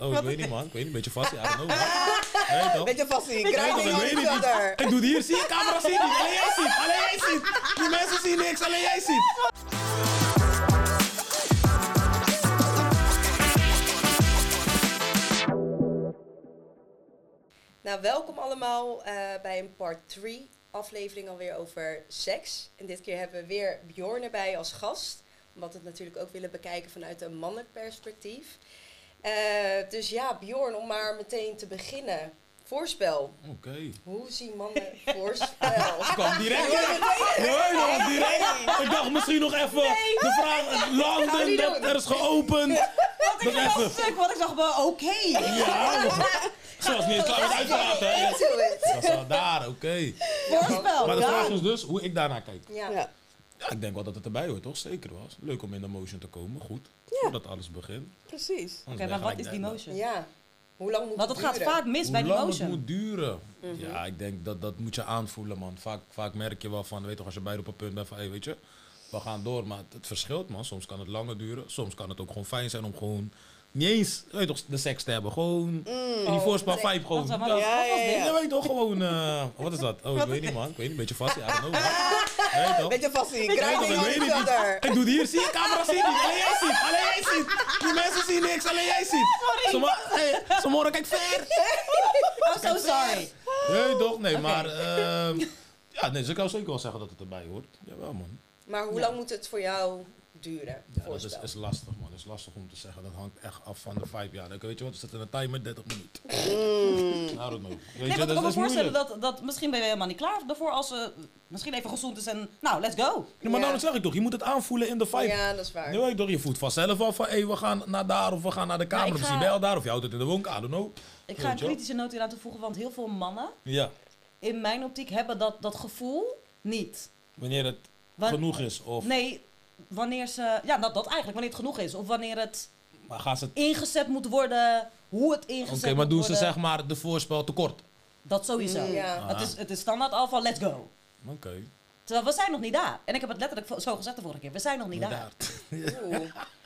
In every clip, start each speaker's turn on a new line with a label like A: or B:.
A: Oh, ik weet niet man. Ik weet niet. Beetje vast. Ja, I don't know. man. Nee, toch?
B: Beetje vast zien.
A: Nee, toch?
B: Kruiding
A: Ik
B: on
A: weet
B: each
A: het
B: other.
A: niet. Ik doe het hier. Zie je? Camera ziet niet. Alleen jij ziet. Alleen jij ziet. Die mensen zien niks. Alleen jij ziet.
B: Nou, welkom allemaal eh, bij een part 3 aflevering alweer over seks. En dit keer hebben we weer Bjorn erbij als gast. Omdat we het natuurlijk ook willen bekijken vanuit een mannelijk perspectief. Eh, dus ja, Bjorn, om maar meteen te beginnen. Voorspel.
A: Oké.
B: Hoe zien mannen voorspel?
A: Ik kwam direct. Nee, nog direct. Ik dacht misschien nog even de vraag eh,
B: Gaan we
A: landen.
B: niet
A: Dat
B: doen.
A: er is geopend.
C: Wat ik
A: Nog
C: wel
A: even.
C: stuk, want ik dacht wel, oké.
A: Ja, maar- Zelfs niet eens klaar met uitpraten. hè.
B: Into it.
A: Dat is al daar, oké.
C: Voorspel,
A: Maar de
C: ja.
A: vraag is dus hoe ik daarnaar kijk.
B: Ja.
C: Ja.
A: Ja, ik denk wel dat het erbij hoort, toch? Zeker was. Leuk om in de motion te komen, goed. Voordat alles begint.
C: Precies.
A: ben
C: Oké, maar
A: je
C: wat
A: gelijk
C: is die
A: dead,
C: motion?
B: ja. Hoe lang moet
C: Want
B: het
C: het gaat
B: duren?
C: vaak mis bij
A: hoe
C: die
A: lang het
C: motion.
A: moet duren. Ja, ik denk dat dat moet je aanvoelen, man. Vaak, vaak merk je wel van, weet toch, als je beide op een punt bent van, hey, weet je, we gaan door. Maar het, het verschilt, man. Soms kan het langer duren. Soms kan het ook gewoon fijn zijn om gewoon niet eens, weet je toch, de seks te hebben. Gewoon in die
B: Oh,
A: voorspel
B: nee.
A: vibe gewoon.
C: Wacht, wat, wat,
A: Mm. Ja.
C: wat was dit?
A: Ja, weet je toch gewoon, eh, wat is dat? Oh, ik weet niet, man. Ik weet niet, beetje vast. Ja, I don't know, man. Weet je toch?
B: Beetje vast zien.
A: Ik
B: Kruiding
A: weet
B: on
A: het niet.
B: each other.
A: Ik doe het hier, zie je? Camera ziet niet. Alleen jij ziet. Alleen jij ziet. Die mensen zien niks. Alleen jij ziet. Sommigen hey, sommigen kijken ver.
C: Oh, so sorry.
A: Nee, toch? Nee, maar... ehm, ja, nee, dus ik zou zeker wel zeggen dat het erbij hoort. Jawel, man.
B: Maar hoe lang moet het voor jou duren?
A: Ja, dat
B: voorspel?
A: is, is lastig, man. Dat is lastig om te zeggen. Dat hangt echt af van de vibe. Ja, dan, weet je wat? Er zit een timer 30 minuten. Nou, dat moet. Weet
C: Mm.
A: je,
C: Nee, want ik
A: dat
C: kan me
A: is
C: voorstellen
A: moeilijk.
C: dat, dat misschien ben je helemaal niet klaar daarvoor als ze misschien even gezond is en nou, let's go.
A: Nee, maar
B: Ja.
A: nou, dat zeg ik toch. Je moet het aanvoelen in de vibe.
B: Ja, dat is waar.
A: Nu weet ik toch, je voelt vanzelf al van, hé, we gaan naar daar of we gaan naar de kamer.
C: ik
A: Misschien
C: ga-
A: bij al daar of je houdt het in de woonkamer, I don't know.
C: Ik
A: Weet
C: ga een
A: je wel.
C: kritische noot hier aan toevoegen, want heel veel mannen
A: Ja,
C: in mijn optiek hebben dat, dat gevoel niet.
A: wanneer het
C: Wan-
A: genoeg is. Of
C: Nee, wanneer ze, ja, dat, dat eigenlijk, wanneer het genoeg is. Of wanneer het
A: maar gaan ze het...
C: ingezet moet worden, hoe het ingezet
A: Oké,
C: moet worden.
A: maar doen ze zeg maar de voorspel tekort?
C: Dat sowieso.
B: Mm, ja.
C: Het, is, het is standaard al van let's go.
A: Oké.
C: Terwijl we zijn nog niet daar. En ik heb het letterlijk vo- zo gezegd de vorige keer. We zijn nog niet daar.
A: Inderdaad.
B: Oeh.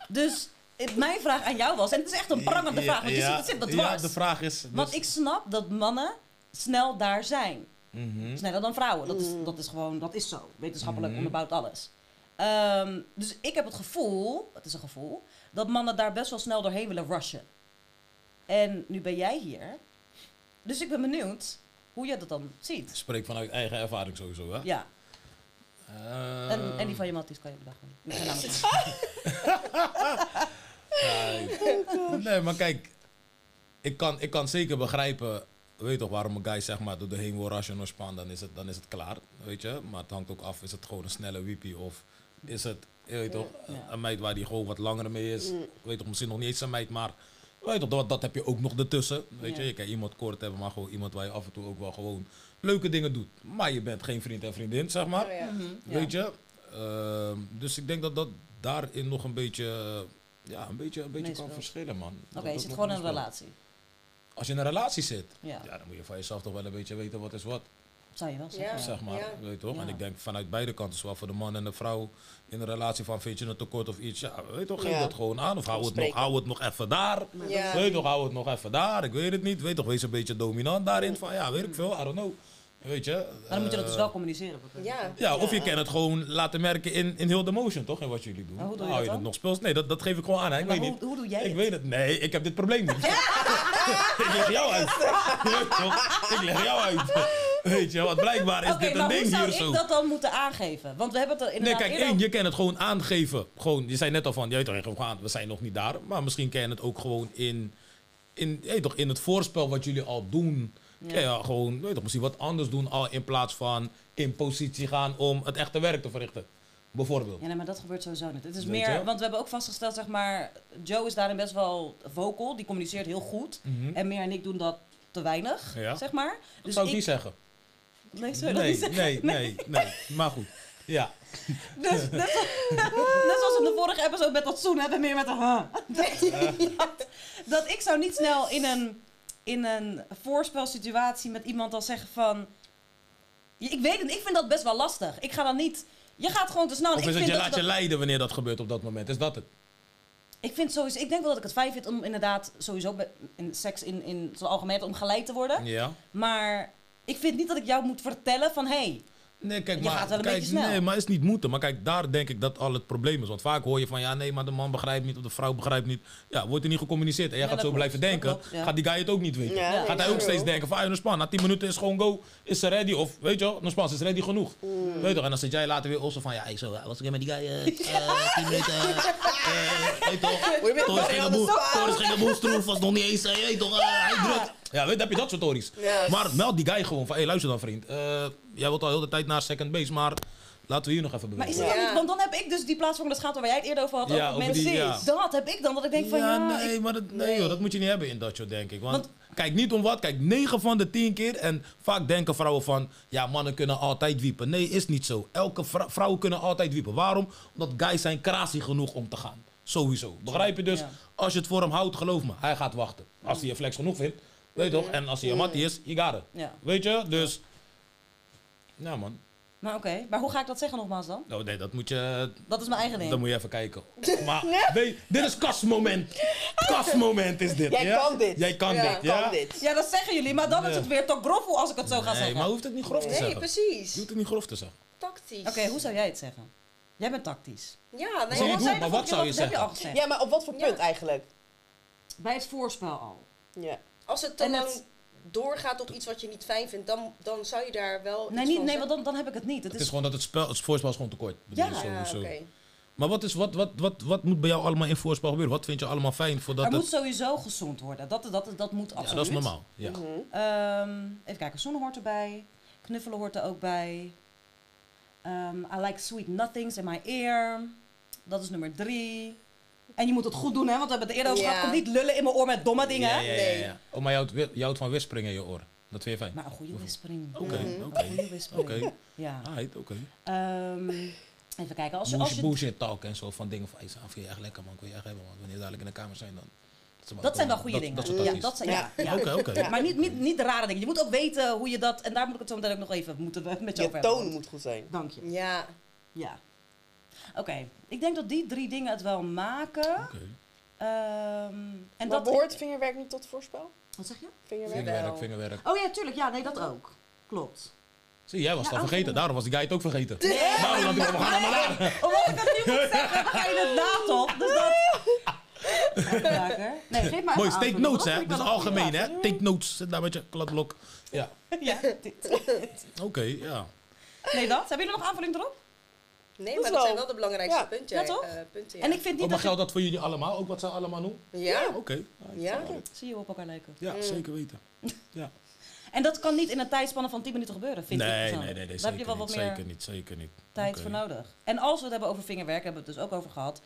C: Dus het- mijn vraag aan jou was, en het is echt een prangende vraag, want je
A: Ja,
C: ziet het zit dat
A: Ja,
C: dwars.
A: de vraag is... Dus,
C: Want ik snap dat mannen snel daar zijn.
A: Mhm. Hm?
C: Sneller dan vrouwen. Dat is, dat is gewoon, dat is zo. Wetenschappelijk onderbouwd alles. Ehm, dus ik heb het gevoel, het is een gevoel, dat mannen daar best wel snel doorheen willen rushen. En nu ben jij hier. Dus ik ben benieuwd hoe jij dat dan ziet.
A: Spreek vanuit eigen ervaring sowieso, hè?
C: Ja.
A: Ehm,
C: En, en die van je matties kan je bedachten. Die zijn namelijk-
A: Nee, maar kijk. Ik kan, ik kan zeker begrijpen... Weet je toch, waarom een guy zeg maar door de heen wil rasje en span, dan is, het, dan is het klaar, weet je. Maar het hangt ook af, is het gewoon een snelle wiepie of is het, je weet toch, een- een meid waar die gewoon wat langer mee is. Weet je toch, misschien nog niet eens een meid, maar weet je toch, dat, dat heb je ook nog ertussen, weet je.
C: Ja.
A: Je kan iemand kort hebben, maar gewoon iemand waar je af en toe ook wel gewoon leuke dingen doet. Maar je bent geen vriend en vriendin, zeg maar.
B: Oh, ja.
C: Hm? Ja.
A: Weet je? Ehm, dus ik denk dat dat daarin nog een beetje, eh, ja, een beetje, een beetje kan
C: Meespeelt.
A: verschillen, man. Dat
C: Oké,
A: dat
C: je zit
A: nog
C: gewoon in een
A: meespeelt.
C: relatie.
A: Als je in een relatie zit, ja.
C: Ja.
A: dan moet je van jezelf toch wel een beetje weten wat is wat,
C: Zou je wel zeggen.
B: Ja.
A: zeg maar.
B: ja.
A: Weet je toch? En
C: Ja.
A: ik denk vanuit beide kanten, zowel voor de man en de vrouw, in een relatie van vind je een tekort of iets, ja, weet je toch, geef
D: Ja.
A: dat gewoon aan. Of hou het, nog,
D: Afspreken.
A: hou het nog even daar.
B: Ja.
A: Weet je toch, hou het nog even daar, ik weet het niet. Weet toch, wees een beetje dominant daarin van, ja, weet ik veel, I don't know. Weet je?
C: Maar dan moet
A: Eh,
C: je dat dus wel communiceren. begrijp ik.
B: Ja.
A: Ja, of je kan het gewoon laten merken in, in heel de motion, toch? In wat jullie doen.
C: Maar hoe doe je
A: Hou
C: dat
A: het
C: dan?
A: nog speels? Nee, dat, dat geef ik gewoon aan. Hè? Ik
C: Maar
A: weet
C: hoe-
A: niet.
C: hoe doe jij
A: Ik
C: het?
A: weet het. Nee, ik heb dit probleem niet. ik leg jou uit. Toch? ik leg jou uit. Weet je, want blijkbaar is
C: Oké,
A: dit een
C: maar hoe
A: ding
C: zou
A: hier
C: ik
A: zo.
C: dat dan moeten aangeven? Want we hebben het er
A: Nee,
C: inderdaad
A: kijk,
C: Nou, eerder
A: één, je kan het gewoon aangeven. Gewoon, je zei net al van, je weet toch, je geeft gewoon aan, we zijn nog niet daar. Maar misschien kan je het ook gewoon in, in, je weet toch, in het voorspel wat jullie al doen. Ja.
C: Ja.
A: ja, gewoon, weet je toch, misschien wat anders doen al in plaats van in positie gaan om het echte werk te verrichten. Bijvoorbeeld.
C: Ja, nee, maar dat gebeurt sowieso niet. Het is
A: Weet je?
C: meer, want we hebben ook vastgesteld, zeg maar, Joe is daarin best wel vocal, die communiceert heel goed. En meer en ik doen dat te weinig,
A: Mhm. Ja.
C: zeg maar.
A: Dat
C: Dus
A: zou ik
C: ik,
A: niet zeggen.
C: Nee,
A: Nee,
C: zou je dat
A: nee,
C: niet zeggen?
A: nee, nee, Maar goed. Ja.
C: Dus, net, zo- net zoals in de vorige episode met dat zoen hebben we meer met een huh. Dat, dat ik zou niet snel in een, in een voorspelsituatie met iemand dan zeggen van... "Ja, Ik weet het, ik vind dat best wel lastig. Ik ga dan niet... Je gaat gewoon te snel.
A: Of
C: ik
A: is het
C: vind
A: je
C: dat
A: laat
C: dat-
A: je leiden wanneer dat gebeurt op dat moment? Is dat het?
C: Ik vind sowieso, ik denk wel dat ik het fijn vind om inderdaad sowieso be- in seks in, in zijn algemeen om gelijk te worden.
A: Ja.
C: Maar ik vind niet dat ik jou moet vertellen van hé, hey,
A: Nee, kijk,
C: Je
A: maar,
C: gaat wel een
A: kijk,
C: beetje snel.
A: Nee, maar is niet moeten. Maar kijk, daar denk ik dat al het probleem is. Want vaak hoor je van, ja, nee, maar de man begrijpt niet of de vrouw begrijpt niet. Ja, wordt er niet gecommuniceerd. En jij
C: Ja,
A: gaat zo
C: dat klopt.
A: blijven denken.
C: Dat klopt, ja.
A: Gaat die guy het ook niet weten.
D: Ja,
C: Ja.
D: nee,
A: Gaat hij ook
D: true.
A: steeds denken van, ah, Nuspan, na 10 minuten is gewoon go. Is ze ready? Of, weet je wel, Nuspan, ze is ready genoeg.
C: Mm.
A: Weet je toch? En dan zit jij later weer ossen van, ja, ik zo, ja, was ik met die guy, eh, eh, 10 minuten, eh, eh, weet je toch?
D: Moet je met
A: Torres
D: Barry
A: ging
D: aan
A: een
D: de
A: boel-
D: slag?
A: Torres ging een boel stroef, was nog niet eens, eh, je weet toch, eh, hij drukt. Ja, weet je, heb je dat soort tories.
D: Ja.
A: Maar meld die guy gewoon van, hey, luister dan vriend, eh, jij wilt al heel de tijd naar second base, maar laten we hier nog even
C: maar is
A: bewegen.
C: het
D: Ja.
C: dan niet? Want dan heb ik dus die plaatsvervangende schaamte waar jij het eerder over had.
A: Ja,
C: over
A: over
C: mensen.
A: die- ja.
C: Dat heb ik dan, dat ik denk van ja,
A: ja,
C: ik-
A: nee, maar dat, nee,
D: nee.
A: Joh, dat moet je niet hebben in dat show, denk ik. Want,
C: Want-
A: kijk, niet om wat, kijk, 9 van de 10 keer. En vaak denken vrouwen van, ja, mannen kunnen altijd wiepen. Nee, is niet zo. Elke vrou- vrouwen kunnen altijd wiepen. Waarom? Omdat guys zijn krasie genoeg om te gaan. Sowieso. Begrijp je dus?
C: Ja.
A: Als je het voor hem houdt, geloof me, hij gaat wachten. Als hij je flex genoeg vindt, weet je toch? En als hij je mattie is, je gaat het.
C: Ja.
A: Weet je? Dus, ja man.
C: Maar oké, maar hoe ga ik dat zeggen nogmaals dan?
A: Nou, nee, dat moet je,
C: Dat is mijn eigen ding.
A: dan moet je even kijken. Maar weet- dit is kastmoment. Kastmoment is dit.
D: Jij
A: ja?
D: kan dit.
A: Jij kan
B: Ja,
A: dit.
D: Kan
A: Ja?
D: dit.
C: Ja, dat zeggen jullie, maar dan is het weer toch grof hoe als ik het zo ga
A: Nee,
C: zeggen.
A: maar hoeft het niet grof te
B: Nee,
A: zeggen. Je
B: precies.
A: hoeft het niet grof te zeggen.
B: Tactisch.
C: Oké, hoe zou jij het zeggen? Jij bent tactisch.
B: Ja,
A: Zie
B: nee,
A: je
B: maar-
A: hoe? maar wat zou je
C: Dat heb je
A: zeggen?
C: al gezegd.
D: Ja, maar op wat voor
B: Ja.
D: punt eigenlijk?
C: Bij het voorspel al.
D: Ja.
B: als het dan
C: En het-
B: doorgaat op iets wat je niet fijn vindt, dan, dan zou je daar wel.
C: Nee,
B: iets van
C: niet, nee want
B: zeggen.
C: dan, dan heb ik het niet. Het
A: Het
C: is,
A: is gewoon dat het, spel, het voorspel is gewoon tekort.
C: Dus- Ja.
A: Bedoel,
B: Ja,
A: sowieso.
B: Ah, oké.
A: Maar wat, is, wat, wat, wat, wat moet bij jou allemaal in voorspel gebeuren? Wat vind je allemaal fijn voordat
C: er
A: het...
C: moet sowieso gezond worden. Dat, dat, dat, dat moet absoluut.
A: ja,
C: Mhm.
A: dat is normaal. Ja.
C: Ehm, even kijken, zon hoort erbij. Knuffelen hoort er ook bij. Ehm, I like sweet nothings in my ear. Dat is nummer drie. En je moet het goed doen, hè? Want we hebben het er eerder over
B: Ja.
C: gehad. Kom niet lullen in mijn oor met domme dingen.
A: Ja, ja, ja, ja, ja.
B: Nee.
A: Oh, maar je houdt, wi- je houdt van whispering in je oren. Dat vind je fijn?
C: Maar een goede whispering.
A: Oké,
C: Ja,
A: oké.
C: Een goede whispering.
A: Oké,
C: Ja.
A: alright, oké.
C: Ehm, even kijken. Als je, als
A: Bullshit,
C: je,
A: bullshit talk en zo van dingen van... Hey, Saaf, vind je echt lekker man, kun je echt hebben man. Wanneer we dadelijk in de kamer zijn dan... ze maar
C: dat zijn wel
A: komen.
C: goede dingen.
A: Dat, dat soort
C: ja,
A: advies.
C: dat zijn, ja, ja.
A: Oké, oké.
D: Ja.
C: Maar niet, niet, niet de rare dingen. Je moet ook weten hoe je dat... En daar moet ik het zo meteen ook nog even moeten we met je over
D: Je
C: hebben.
D: toon moet goed zijn.
C: Dank je.
B: Ja,
C: Ja. Oké. Ik denk dat die drie dingen het wel maken.
A: Oké.
C: Ehm, en
D: maar
C: dat...
D: behoort vingerwerk niet tot voorspel?
C: Wat zeg je?
D: Vingerwerk?
A: Vingerwerk,
B: Jawel.
A: vingerwerk.
C: Oh ja, tuurlijk. Ja, nee, dat ook. Klopt.
A: Zie, jij was
C: Ja,
A: dat vergeten.
C: aanvoelen.
A: Daarom was die guy het ook vergeten. Daarom dacht ik, we gaan allemaal aan.
C: Omdat ik het nu moet zeggen, ga je het laat op. Dus dat... Even maken. Nee, geef maar
A: Mooi,
C: even
A: take
C: aanvulling,
A: notes,
C: want
A: hè.
C: ik
A: Dat is
C: ben nog-
A: algemeen,
C: Ja,
A: hè. Take notes. Zit daar met je kladblok. Ja,
C: Ja, dit.
A: oké, ja. Oh,
C: Nee, dat. Hebben jullie nog aanvulling erop?
B: nee,
D: Dat
B: maar
D: is
B: dat
D: wel-
B: zijn wel de belangrijkste
D: Ja.
B: punten.
C: Ja, toch?
B: eh, punten ja.
C: En ik vind
A: Oh,
C: niet
A: maar
C: dat...
A: geldt dat voor jullie allemaal? Ook wat zij allemaal doen?
B: ja.
A: Oké.
B: Ja.
C: je- Zie je hoe we op elkaar lijken.
A: Ja, zeker weten. Ja.
C: En dat kan niet in een tijdspanne van 10 minuten gebeuren, vind ik.
A: Nee, nee,
C: persoonlijk.
A: nee, nee,
C: Daar heb je
A: zeker
C: wel wat
A: niet.
C: meer
A: Zeker niet, zeker niet.
C: tijd
A: Oké.
C: voor nodig. En als we het hebben over vingerwerk, hebben we het dus ook over gehad.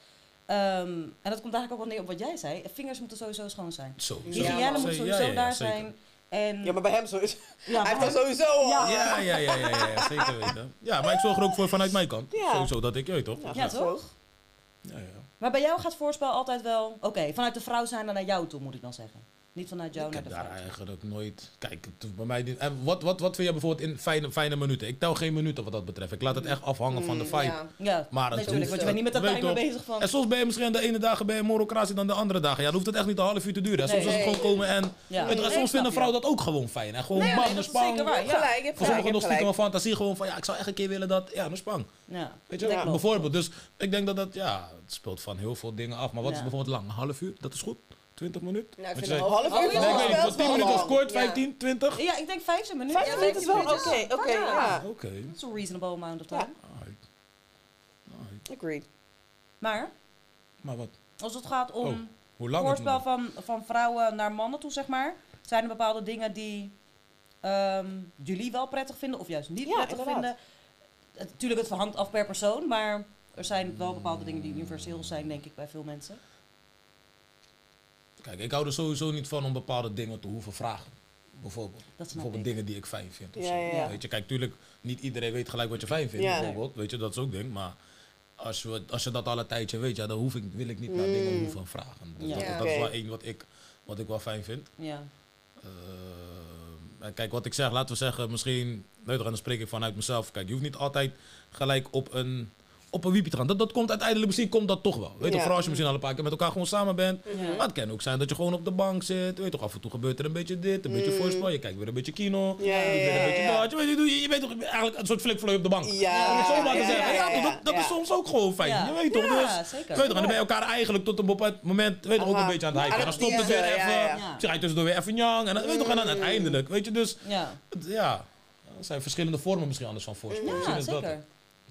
C: Ehm, en dat komt eigenlijk ook wel neer op wat jij zei. Vingers moeten sowieso schoon zijn.
A: Zo. zo.
C: Hygiëne
B: Ja,
C: moet
A: Ze-
C: sowieso
A: ja, ja, ja,
C: daar
A: zeker.
C: zijn. En
D: Ja, maar bij hem sowieso.
C: Ja,
D: Hij
C: maar-
D: heeft dat sowieso.
C: Ja.
D: al.
A: Ja, ja, ja, ja, ja, ja, zeker weten. Ja, maar ik zorg er ook voor vanuit mijn kant.
D: Ja.
A: Sowieso dat ik, je weet toch?
D: Ja,
A: Ja,
C: Ja,
D: gaat
C: toch?
D: goed.
A: ja.
C: maar bij jou gaat voorspel altijd wel... Oké, vanuit de vrouw zijn dan naar jou toe, moet ik dan zeggen. Niet vanuit jou
A: Ik
C: naar
A: heb
C: de
A: daar
C: vrouw.
A: eigenlijk nooit... Kijk, het hoeft bij mij niet... En wat, wat, wat vind jij bijvoorbeeld in fijne, fijne minuten? Ik tel geen minuten wat dat betreft. Ik laat het echt afhangen van de vibe.
B: Ja.
C: Mm, Ja,
A: Maar het
C: natuurlijk,
A: hoeft-
C: want je bent niet met de
A: Weet
C: timer
A: toch?
C: bezig van...
A: En soms ben je misschien de ene dagen bij een morocratie dan de andere dagen. Ja, dan hoeft het echt niet een half uur te duren. En
C: Nee.
A: soms is het gewoon komen en...
C: Ja.
A: weet je, soms
C: Nee, ik
A: vindt een
C: snap
A: vrouw
C: je.
A: dat ook gewoon fijn. En gewoon
C: Nee,
A: bam,
C: nee,
A: naar
C: dat is
A: Spang.
C: zeker waar.
A: Voor
C: Ja.
D: Je hebt gelijk, je hebt
A: sommigen
D: gelijk. je
A: nog
D: hebt
A: stiekem een
D: gelijk.
A: fantasie gewoon van... Ja, ik zou echt een keer willen dat... Ja, naar Spang.
C: Ja,
A: Weet je,
C: dat
A: wel?
C: klopt.
A: bijvoorbeeld. Dus ik denk dat dat... Ja, het speelt van heel veel dingen af. Maar wat
C: Ja.
A: is bijvoorbeeld lang? Een half uur? Dat is goed? Twintig minuten?
B: Nou,
A: Wat
B: ik vind
A: je
B: een
A: zei?
B: half
D: Half uur
B: uur
D: is
A: Nee, ik
D: wel
A: weet niet.
D: best
A: Voor tien minuten
D: lang.
A: is kort.
B: Ja.
A: Vijftien, twintig?
C: Ja, ik denk 15 minuten.
D: Vijf
B: Ja,
D: minuten is
B: vijf
D: wel
B: minuten
D: oké,
B: is-
D: oké,
B: Ja.
D: ja.
A: Oké.
C: That's a reasonable amount of time.
D: Ja.
A: Alright. Alright.
D: Agreed.
C: Maar
A: Maar wat?
C: als het gaat om...
A: Oh. Hoe lang het
C: voorspel
A: moet?
C: van, van vrouwen naar mannen toe, zeg maar. Zijn er bepaalde dingen die ehm, jullie wel prettig vinden of juist niet
D: Ja,
C: prettig
D: inderdaad.
C: vinden? Het- Natuurlijk, het hangt af per persoon, maar er zijn wel bepaalde dingen die universeel zijn, denk ik, bij veel mensen.
A: Kijk, ik hou er sowieso niet van om bepaalde dingen te hoeven vragen. Bijvoorbeeld.
C: Dat snap
A: Bijvoorbeeld
C: ik.
A: dingen die ik fijn vind. Of
D: Ja,
A: zo.
D: ja, ja.
A: Weet je, kijk, tuurlijk, niet iedereen weet gelijk wat je fijn vindt.
D: Ja.
A: Bijvoorbeeld. Weet je, dat is ook ding. Maar als, we, als je dat al een tijdje weet, ja, dan hoef ik, wil ik niet naar dingen hoeven vragen. Dus
C: Ja.
A: dat, dat is
D: Oké.
A: wel één wat ik, wat ik wel fijn vind.
C: Ja.
A: Eh, en kijk, wat ik zeg, laten we zeggen, misschien, nee, dan spreek ik vanuit mezelf. Kijk, je hoeft niet altijd gelijk op een op een wiepje te gaan. Dat, dat komt uiteindelijk misschien komt dat toch wel. Weet je toch,
D: Ja.
A: vooral als je misschien al een paar keer met elkaar gewoon samen bent. Maar het kan ook zijn dat je gewoon op de bank zit. Weet je toch, af en toe gebeurt er een beetje dit, een beetje voorspel. Je kijkt weer een beetje kino.
D: Ja, ja,
A: je doet weer
D: Mm. ja,
A: een beetje
D: ja.
A: dat. Je weet- Je, doet- je bent toch eigenlijk een soort flikvlooi op de bank.
D: Ja,
A: Om het zo maar te
D: ja,
A: zeggen.
D: ja,
A: Ja,
D: ja,
A: dat dat
D: ja.
A: is soms ook gewoon fijn.
C: Ja.
A: Je weet toch?
C: Ja,
A: dus,
C: zeker.
A: Weet je toch, en dan ben je elkaar eigenlijk tot een bepaald moment weet je toch, ook een
D: Aha.
A: beetje aan het hypen.
D: Aan
A: Dan
D: het
A: stopt het weer
D: teasen,
A: even.
D: ja, ja.
A: Misschien ga je Ah. tussendoor weer even njang. En dan, weet je toch, en dan uiteindelijk. Weet je, dus
C: Ja,
A: het- ja, er zijn verschillende vormen misschien anders van voorspel. misschien
C: ja
A: is dat
C: zeker.
A: het.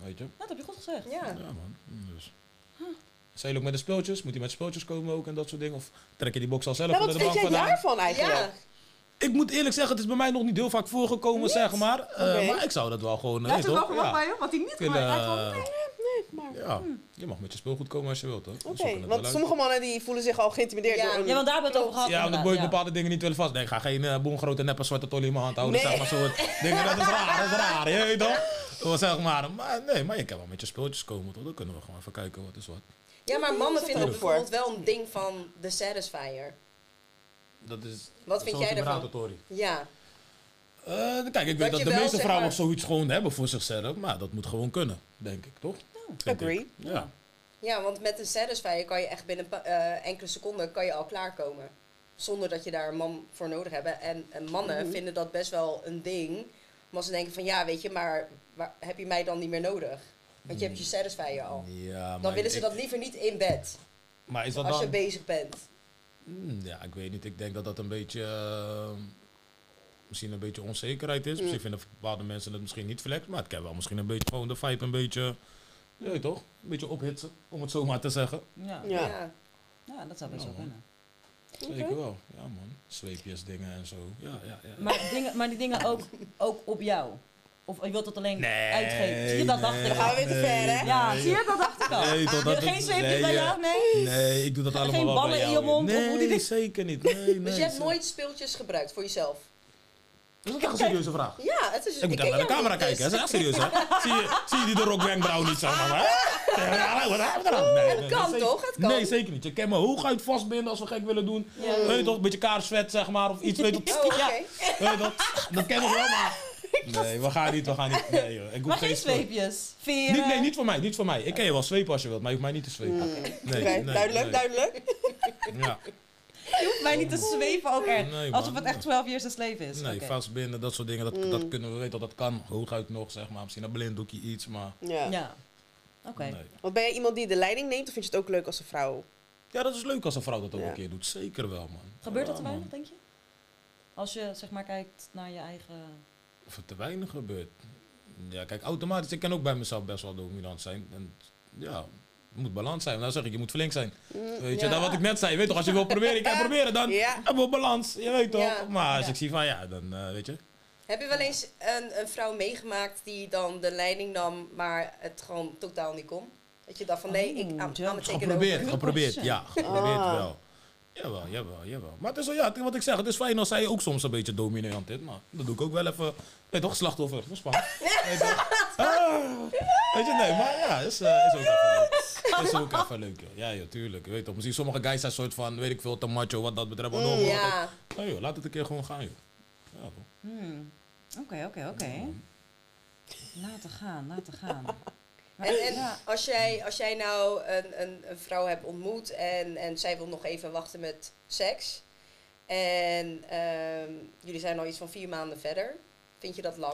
A: Weet je?
C: Dat heb je goed gezegd.
B: Ja.
A: Ja, man. Dus. Zijn jullie ook met de speeltjes? Moet hij met speeltjes komen ook en dat soort dingen? Of trek je die box al zelf
D: Nou,
A: naar
D: wat
A: de
D: vind
A: bank
D: jij
A: vandaan?
D: daarvan eigenlijk?
B: Ja.
A: Ik moet eerlijk zeggen, het is bij mij nog niet heel vaak voorgekomen, zeg maar. Eh,
D: Oké.
A: Maar ik zou dat wel gewoon... eh,
E: Dat is
A: weet
E: wel
A: toch?
E: verwacht
A: Ja.
E: bij hem, wat hij niet
A: Kunnen,
E: gemaakt heeft.
A: eh,
D: Nee, maar...
A: ja, je mag met je speelgoed komen als je wilt, hoor. We
D: Oké,
A: zoeken het
D: want
A: wel uit.
D: sommige mannen die voelen zich al geïntimideerd
B: Ja.
D: door een...
C: Ja, want daar hebben we het over gehad.
A: Ja, want ik
C: inderdaad,
A: moet
C: ja.
A: bepaalde dingen niet willen vast. Nee, ik ga geen eh boomgrote neppe zwarte tolly in mijn hand houden.
D: Nee.
A: Zeg maar soort dingen, dat is raar, dat is raar. Je weet toch? Wel, Zeg maar, maar nee, maar je kan wel met je speeltjes komen, toch? Dan kunnen we gewoon even kijken wat is wat.
B: Ja, maar mannen vinden
D: er
B: dat
D: ook voor?
B: bijvoorbeeld wel een ding van de satisfier.
A: Dat is,
B: Wat vind jij daarvan?
A: Tori.
B: Ja.
A: Eh, kijk, ik
B: Dat
A: weet dat
B: je
A: de
B: wel,
A: meeste
B: zeg
A: vrouwen
B: maar-
A: zoiets gewoon hebben voor zichzelf. Maar dat moet gewoon kunnen, denk ik, toch? Vind ik.
D: Agree.
A: Ja.
B: ja, want met een satisfier kan je echt binnen een pa- eh, enkele seconden kan je al klaarkomen. Zonder dat je daar een man voor nodig hebt. En, en mannen
A: Mhm.
B: vinden dat best wel een ding. Maar ze denken van, ja, weet je, maar waar, heb je mij dan niet meer nodig? Want je hebt je satisfier al.
A: ja maar
B: Oh. Dan willen ze
A: ik-
B: dat liever niet in bed.
A: Maar is dat
B: Als je
A: dan...
B: bezig bent.
A: Hmm, Ja, ik weet niet. Ik denk dat dat een beetje... eh, misschien een beetje onzekerheid is. Misschien vinden bepaalde mensen het misschien niet flex. Maar het kan wel misschien een beetje gewoon de vibe een beetje... Je weet toch? Een beetje ophitsen, om het zo maar te zeggen.
C: Ja.
D: Ja.
B: ja.
C: Ja, dat zou best wel
A: Oh.
C: kunnen.
A: Zeker wel. Ja, man. Zweepjes, dingen en zo. Ja, ja, ja.
C: Maar, dingen, maar die dingen ook, ook op jou. Of je wilt dat alleen
A: Nee,
C: uitgeven. Zie je, dat dacht
A: nee,
C: ik
D: Gaan we
C: al.
D: weer te ver, hè?
C: Ja, zie je, dat dacht ik al.
A: Nee,
C: Je
A: totdat
C: hebt
A: het-
C: geen zweepjes
A: nee,
C: bij
A: ja.
C: jou? Nee.
A: Nee, ik doe dat allemaal
C: Geen
A: wel
C: ballen
A: bij
C: in
A: jou,
C: je mond,
A: joh.
C: of hoe die
A: Nee,
C: dingen-
A: zeker niet. Nee, nee,
B: Dus je hebt
A: ze-
B: nooit speeltjes gebruikt voor jezelf?
A: Dat is echt een serieuze vraag.
B: Ja, het is...
A: Ik moet
B: ken
A: even naar de
B: jou
A: camera
B: niet, dus-
A: kijken. Dat is echt serieus, hè? zie, je, zie je die de Rock Wenkbrauw niet zo, maar hè? Ja, wat hebben we eraan? Nee, nee, nee,
B: kan
A: zeker-
B: toch? Het kan.
A: Nee, zeker niet. Je kan me hooguit vastbinden als we gek willen doen. Weet je toch? Een beetje kaarsvet, zeg maar. Of iets, weet je toch?
B: Oh, oké.
A: Weet je toch? Dat ken ik wel, maar... Nee, we gaan niet, we gaan niet. Nee, joh. Ik hoef
C: Maar geen
A: spul.
C: zweepjes. Veren.
A: Niet, nee, niet voor mij, niet voor mij. Ik kan je wel zwepen als je wilt, maar je hoeft mij niet te zwepen. Nee,
D: Oké,
A: nee,
D: duidelijk,
A: nee.
D: duidelijk.
A: Ja.
C: Je hoeft mij niet te zweven ook echt.
A: Nee, man.
C: alsof het echt 12 years a slave is.
A: Nee,
C: Dus, Oké.
A: vastbinden, dat soort dingen, dat, dat kunnen we weten. Dat kan hooguit nog, zeg maar. Misschien een blinddoekje iets, maar...
D: Ja.
C: Ja. Oké.
A: Nee.
D: Want ben jij iemand die de leiding neemt of vind je het ook leuk als een vrouw?
A: Ja, dat is leuk als een vrouw dat ook
D: Ja.
A: een keer doet. Zeker wel, man.
C: Gebeurt
A: Ja,
C: dat te weinig,
A: man.
C: denk je? Als je zeg maar kijkt naar je eigen.
A: Of het te weinig gebeurt. Ja, kijk, automatisch. Ik kan ook bij mezelf best wel dominant zijn. En ja, het moet balans zijn. Nou zeg ik, je moet flink zijn. Weet je,
B: ja.
A: dat wat ik net zei. Weet toch, als je wil proberen, ik kan proberen. Dan
D: Ja.
A: hebben we balans. Je weet toch.
B: Ja.
A: Maar als
B: Ja.
A: ik zie van, ja, dan eh, weet je.
B: Heb je wel eens een, een vrouw meegemaakt die dan de leiding nam, maar het gewoon totaal niet kon? Dat je dacht van nee, ik aan,
C: ja.
B: aan het tekenen
A: Geprobeerd,
B: over.
A: geprobeerd.
C: Oplossen.
A: Ja, geprobeerd
D: Ah.
A: wel. Jawel, jawel, jawel. Maar het is wel, ja, het- wat ik zeg, het is fijn als zij ook soms een beetje dominant is. Maar dat doe ik ook wel even. Weet toch, slachtoffer. Dat is spannend. Weet toch? Ah. Weet je, nee, maar ja, is, eh, is ook even leuk. Is ook even leuk, joh. Ja, joh, tuurlijk. Je Weet toch, misschien sommige guys zijn soort van, weet ik veel, te macho wat dat betreft. maar dan wordt het-
B: Ja,
A: Nee joh, laat het een keer gewoon gaan, joh. Ja, toch.
C: Hmm. Oké, oké, oké. Laten gaan, laten gaan. Maar-
B: en, en
C: ja.
B: als, jij, als jij nou een, een, een vrouw hebt ontmoet en, en zij wil nog even wachten met seks. En ehm, jullie zijn al iets van vier maanden verder. Vind je dat lang?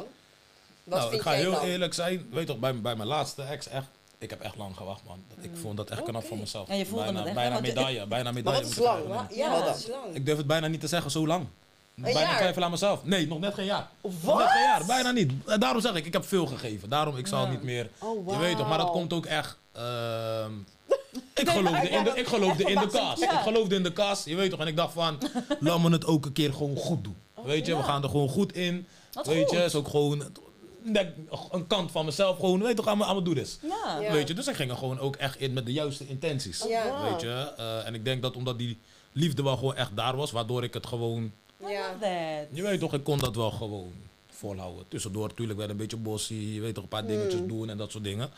B: Wat
A: nou,
B: vind
A: ik ga
B: jij
A: heel
B: lang?
A: eerlijk zijn. Weet toch, bij, bij mijn laatste ex echt. Ik heb echt lang gewacht, man. Dat- Ik vond dat echt knap van mezelf.
C: Ja, je voelde
A: bijna,
C: het echt, hè?
A: bijna
C: Want je-
A: medaille, bijna medaille.
D: wat is
A: moet ik
D: lang?
A: zeggen.
B: Ja,
D: Wat
B: dat
D: dan?
B: is lang.
A: Ik durf het bijna niet te zeggen, zo lang. bijna
B: jaar?
A: twijfel aan mezelf. Nee, nog net geen jaar. Nog net geen jaar, bijna niet. Eh, Daarom zeg ik, ik heb veel gegeven. Daarom, ik zal niet meer...
D: Oh,
A: Je weet toch, maar dat
D: wauw.
A: komt ook echt... ehm, ik geloofde in de, ik geloofde in de kaas. Ik geloofde in de kaas, je weet toch. En ik dacht van, laat me het ook een keer gewoon goed doen. Weet je, we gaan er gewoon goed in.
C: Wat
A: weet je,
C: goed.
A: is ook gewoon net een kant van mezelf. Gewoon, weet je toch, allemaal, allemaal doe dit.
C: Ja.
B: Ja.
A: Weet je, dus ik ging er gewoon ook echt in met de juiste intenties.
B: Ja.
D: Wauw.
A: Weet je, eh, en ik denk dat omdat die liefde wel gewoon echt daar was, waardoor ik het gewoon...
B: Ja.
C: That.
A: Je weet toch, ik kon dat wel gewoon volhouden. Tussendoor natuurlijk werd een beetje bossy, je weet toch, een paar dingetjes doen en dat soort dingen.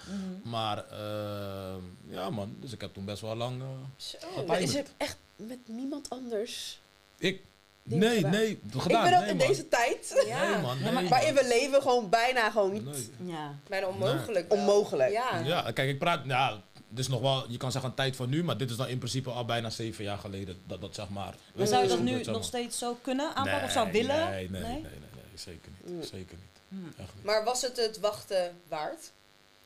A: Maar eh, ja man, dus ik heb toen best wel lang... eh,
B: Zo.
A: getimed.
D: Maar is het echt met niemand anders?
A: ik,
D: dingen
A: Nee,
D: gedaan.
A: nee,
D: Ik
A: gedaan.
D: ben ook
A: nee,
D: in
A: man.
D: deze tijd,
B: Ja,
A: Nee, man.
C: Ja, maar-
A: Nee,
D: waarin
A: man.
D: we leven, gewoon bijna gewoon niet.
A: Nee.
C: Ja.
B: bijna onmogelijk. wel.
D: Onmogelijk.
B: Ja.
A: Ja, kijk, ik praat. Ja, dus nog wel, je kan zeggen een tijd van nu, maar dit is dan in principe al bijna zeven jaar geleden. Dat dat zeg maar.
C: Maar zou je dat nu
A: zeg maar.
C: nog steeds zo kunnen aanpakken of zou
A: Nee,
C: willen? Mm.
A: Nee, nee, nee, nee, nee, zeker niet. Zeker niet. Echt niet.
B: Maar was het het wachten waard?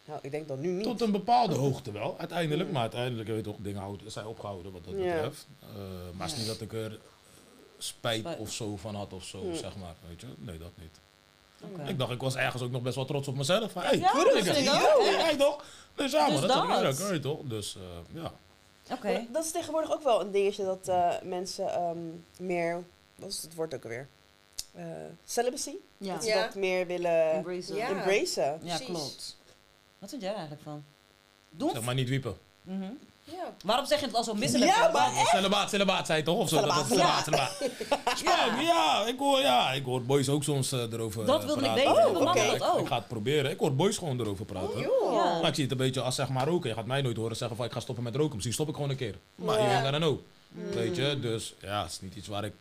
D: Nou, ik denk dat nu niet.
A: Tot een bepaalde hoogte wel, uiteindelijk. Maar uiteindelijk, je weet toch, dingen houden, zijn opgehouden wat dat
D: Ja.
A: betreft. Eh, maar het is niet dat ik er spijt
C: Spijt. Mm.
A: of zo van had of zo, zeg maar. Weet je? Nee, dat niet.
C: Oké.
A: Ik dacht, ik was ergens ook nog best wel trots op mezelf. Van, hey,
C: Ja,
A: goed,
C: dat
A: ik
C: vind ik
A: dacht,
C: ook,
A: yo,
C: echt.
A: hey, toch? Dus ja,
C: Dus
A: maar dat is ook
C: dat.
A: leuk, hey, toch? Dus eh, ja.
C: Oké.
D: Maar dat is tegenwoordig ook wel een dingetje dat eh, mensen ehm, meer, wat is het woord ook alweer? Eh, celibacy?
C: Ja.
D: Dat ze
B: Ja.
D: dat meer willen
C: Embrace
B: Ja.
C: it.
D: embracen.
C: Ja,
B: precies.
C: klopt. Wat vind jij er eigenlijk van? Doen?
A: Zeg maar niet wiepen.
C: Mhm.
B: Ja.
C: Waarom zeg je het al zo misselijk?
D: Ja, maar-
A: Celebaat, celebaat Oh, zei je toch? Of zo? Dat- dat-
C: Celibaat,
A: Celebaat, celebaat. Spank, ja, ik hoor, ja, ik hoor boys ook soms eh, erover
C: Dat
A: eh,
C: wilde ik
A: praten.
C: weten,
D: we mannen
A: Ik-
C: dat ook.
A: Ik, ga het proberen. Ik hoor boys gewoon erover praten.
C: Ja.
A: Maar ik zie het een beetje als zeg maar roken. Je gaat mij nooit horen zeggen van ik ga stoppen met roken. Misschien stop ik gewoon een keer. Maar je weet dan ook. Weet je, dus ja, het is niet iets waar ik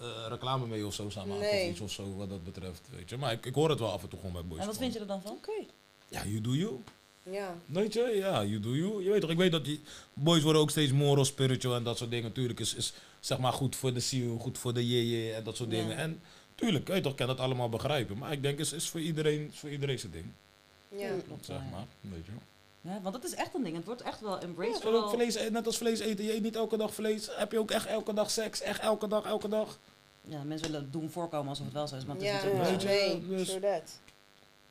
A: eh, reclame mee of zo samen maak
B: Nee.
A: of iets of zo wat dat betreft. Weet je, maar ik, ik hoor het wel af en toe gewoon bij boys.
C: En wat
A: gewoon.
C: vind je er dan van?
D: Oké.
A: Ja, you do you.
B: Ja.
A: Weet je, ja, you do you. Je weet toch, ik weet dat die boys worden ook steeds moral, spiritual en dat soort dingen. Tuurlijk is, is zeg maar goed voor de ziel, goed voor de je je en dat soort
C: Ja.
A: dingen. En tuurlijk, je weet toch, ik kan dat allemaal begrijpen. Maar ik denk, is, is voor iedereen, is voor iedereen zijn ding,
D: Hmm.
B: Ja.
C: Klopt,
A: zeg
C: ja.
A: maar. Weet je.
C: Ja, want dat is echt een ding. Het wordt echt wel
A: Ja,
C: embraced.
A: het is ook
C: vooral.
A: vlees, eten, net als vlees eten, je eet niet elke dag vlees. Heb je ook echt elke dag seks, echt elke dag, elke dag.
C: ja, mensen willen het doen voorkomen alsof het wel zo is, maar het is
B: Ja.
C: natuurlijk
D: Ja.
C: niet
A: Weet
C: zo. Hmm.
A: je,
B: Nee,
A: dus,
D: Sure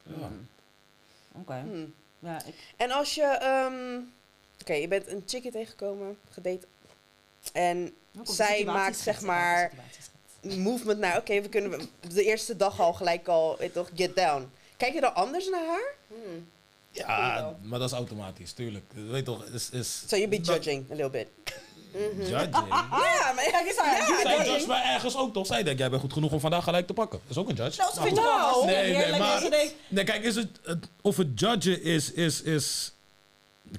D: Mm-hmm. that.
A: ja.
C: Oké.
D: Hmm.
C: Ja, ik...
D: En als je, ehm, oké, je bent een chickie tegengekomen, gedate. En Zij maakt, zeg maar- movement naar, oké, we kunnen de eerste dag al gelijk al, weet toch, get down. Kijk je dan anders naar haar?
B: Hm.
A: ja, maar dat is automatisch, tuurlijk. Weet toch, is... is
D: So you be
A: dat-
D: judging a little bit.
A: Judging?
B: Ah.
D: Ja, maar ja, ja,
A: Zij
D: nee.
A: judge mij ergens ook toch? Zij denkt, jij bent goed genoeg om vandaag gelijk te pakken. Dat is ook een judge.
C: Nou, ze
A: Maar
C: vindt het
A: goed.
C: wel
D: Nou,
C: hartstikke
A: nee, nee,
C: heerlijk.
A: maar-
C: en ze denkt,
A: Nee, kijk, is het, het- of het judgen is, is, is...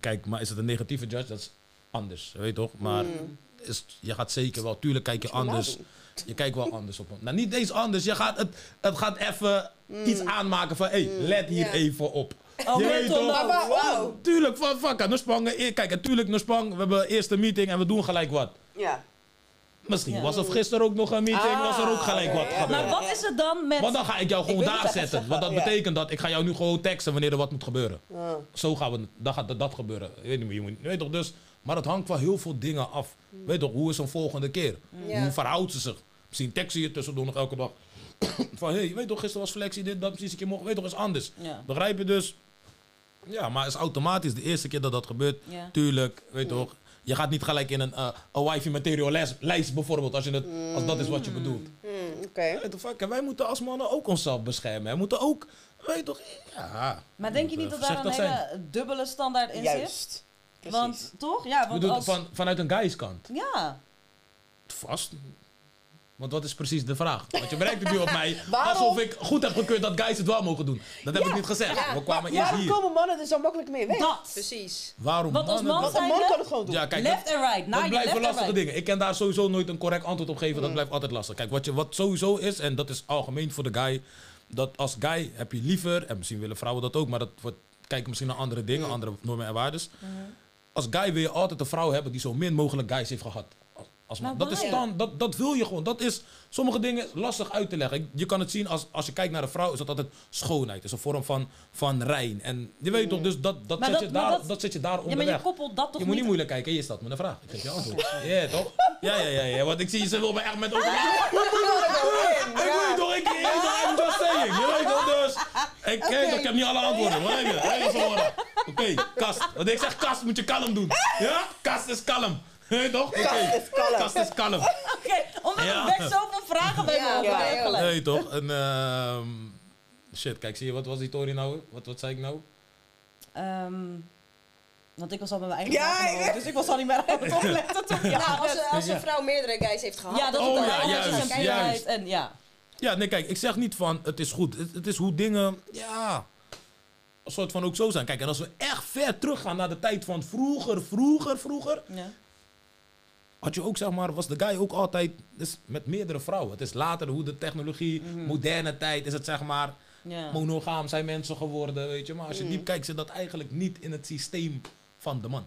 A: Kijk, maar is het een negatieve judge? Dat is anders, weet je toch? Maar is, je gaat zeker wel... Tuurlijk kijk je
D: je maar
A: anders. Je kijkt wel anders op hem. Nou, niet eens anders. Je gaat het, het gaat even iets aanmaken van... Hé, hey, let hier
B: Ja.
A: even op.
C: Oh,
A: Je
C: let
A: weet
C: on
A: toch?
C: up.
D: Maar waarom?
A: Wow. Tuurlijk, van fuck. aan Nuspang, eh, kijk, natuurlijk, Nuspang. We hebben eerste meeting en we doen gelijk wat.
D: Ja.
A: Misschien
C: Ja.
A: was er gisteren ook nog een meeting,
D: Ah,
A: was er ook gelijk wat
D: oké.
A: gebeurd.
C: maar wat is het dan met...
A: Want dan ga ik jou gewoon
D: wil
A: daar
D: zeggen,
A: zetten.
D: zeggen,
A: Want dat
D: ja.
A: betekent dat ik ga jou nu gewoon teksten wanneer er wat moet gebeuren.
D: Ah.
A: Zo gaan we, dan gaat dat, dat gebeuren. Je weet, niet, je moet, je weet toch, dus, maar het hangt van heel veel dingen af. Weet toch, hoe is een volgende keer?
B: Ja.
A: Hoe verhoudt ze zich? Misschien tekst je je tussendoor nog elke dag. van, hé, hey, weet toch, gisteren was flexie, dit, dat, precies een keer mocht. Weet toch, is anders.
C: Ja.
A: Begrijp je dus? Ja, maar het is automatisch de eerste keer dat dat gebeurt.
C: Ja.
A: Tuurlijk, weet toch. Je gaat niet gelijk in een eh a wifey material les- lijst bijvoorbeeld, als, je het, als dat is wat je bedoelt.
D: Oké.
A: Weet je, fuck, en wij moeten als mannen ook onszelf beschermen. We moeten ook, weet je toch, ja.
C: Maar denk je
A: Moet,
C: niet
A: eh,
C: dat daar een
A: voorzichtig
C: hele dubbele standaard in zit?
D: Juist. Precies.
C: Want toch? Ja,
A: Ik
C: want
A: bedoel,
C: als...
A: van, vanuit een guy's kant.
C: Ja.
A: Vast. Want wat is precies de vraag? Want je bereikt het nu op mij
D: Waarom?
A: alsof ik goed heb gekeurd dat guys het wel mogen doen. Dat heb ik niet gezegd. We kwamen eerst
D: Waarom
A: hier.
D: komen mannen er zo makkelijk mee weg?
C: Dat.
B: Precies.
A: Waarom
C: Want als
A: mannen
C: man
A: dat-
D: Een man
C: Zijnde?
D: kan het gewoon doen.
A: Ja, kijk, dat-
C: Left and right.
A: Dat
C: Naar
A: blijven
C: left and
A: lastige
C: right.
A: dingen. Ik kan daar sowieso nooit een correct antwoord op geven.
C: Mm.
A: Dat blijft altijd lastig. Kijk, wat, je, wat sowieso is, en dat is algemeen voor de guy. Dat als guy heb je liever, en misschien willen vrouwen dat ook, maar dat wordt, kijken misschien naar andere dingen,
C: Mm.
A: andere normen en waardes.
C: Mm-hmm.
A: Als guy wil je altijd een vrouw hebben die zo min mogelijk guys heeft gehad. Als- Als man.
C: Maar
A: dat, is
C: why?
A: dan, dat, dat wil je gewoon. Dat is sommige dingen lastig uit te leggen. Ik- Je kan het zien als, als je kijkt naar een vrouw, is dat altijd schoonheid. Het is een vorm van, van rein. En je weet toch, dus dat, dat,
C: Mm. Maar
A: zet,
C: dat-
A: je
C: maar
A: daar, dat,
C: dat-
A: zet je daar
C: Ja,
A: onderweg.
C: maar je koppelt dat
A: Je
C: toch
A: moet
C: niet...
A: niet moeilijk kijken, je staat met een vraag. Ik geef je antwoord. Ja, toch? Ja, ja, ja, ja, want ik zie ze wil me echt met open. Ik weet toch, ik weet toch, I'm just saying. Je weet toch, dus. Ik, kijk, ik heb niet alle antwoorden, wat heb je? Wat heb je verloren? Oké, kast. Want ik zeg kast, moet je kalm doen. Ja? Kast is kalm. Hé, toch? Oké.
D: Kast is kalm.
A: Kast is kalm.
C: Oké, omdat
A: Ja.
C: er best zoveel vragen bij me
B: Ja,
C: opkomen.
D: ja,
B: ja.
A: Nee, toch? En, ehm, shit, kijk, zie je, wat was die Tori nou? Wat, wat zei ik nou?
C: Ehm, want ik was al met mijn eigen
D: Ja,
C: vragen
D: ik-
C: bezig, dus ik was al niet meer aan het opletten toen.
B: Ja,
C: Ja, eh,
B: als,
C: dat,
B: een- als
A: Ja.
B: een vrouw meerdere guys heeft gehad.
C: ja, dat
A: Oh,
C: het
A: ja,
C: allemaal
A: juist,
C: is en keihard
A: juist.
C: En ja.
A: Ja, nee, kijk, ik zeg niet van het is goed. Het, het is hoe dingen, ja, een soort van ook zo zijn. Kijk, en als we echt ver teruggaan naar de tijd van vroeger, vroeger, vroeger.
C: ja.
A: had je ook, zeg maar, was de guy ook altijd dus met meerdere vrouwen. Het is later hoe de technologie,
B: Mhm.
A: moderne tijd, is het zeg maar,
C: Ja.
A: monogaam zijn mensen geworden, weet je. Maar als je
B: Mhm.
A: diep kijkt, zit dat eigenlijk niet in het systeem van de man.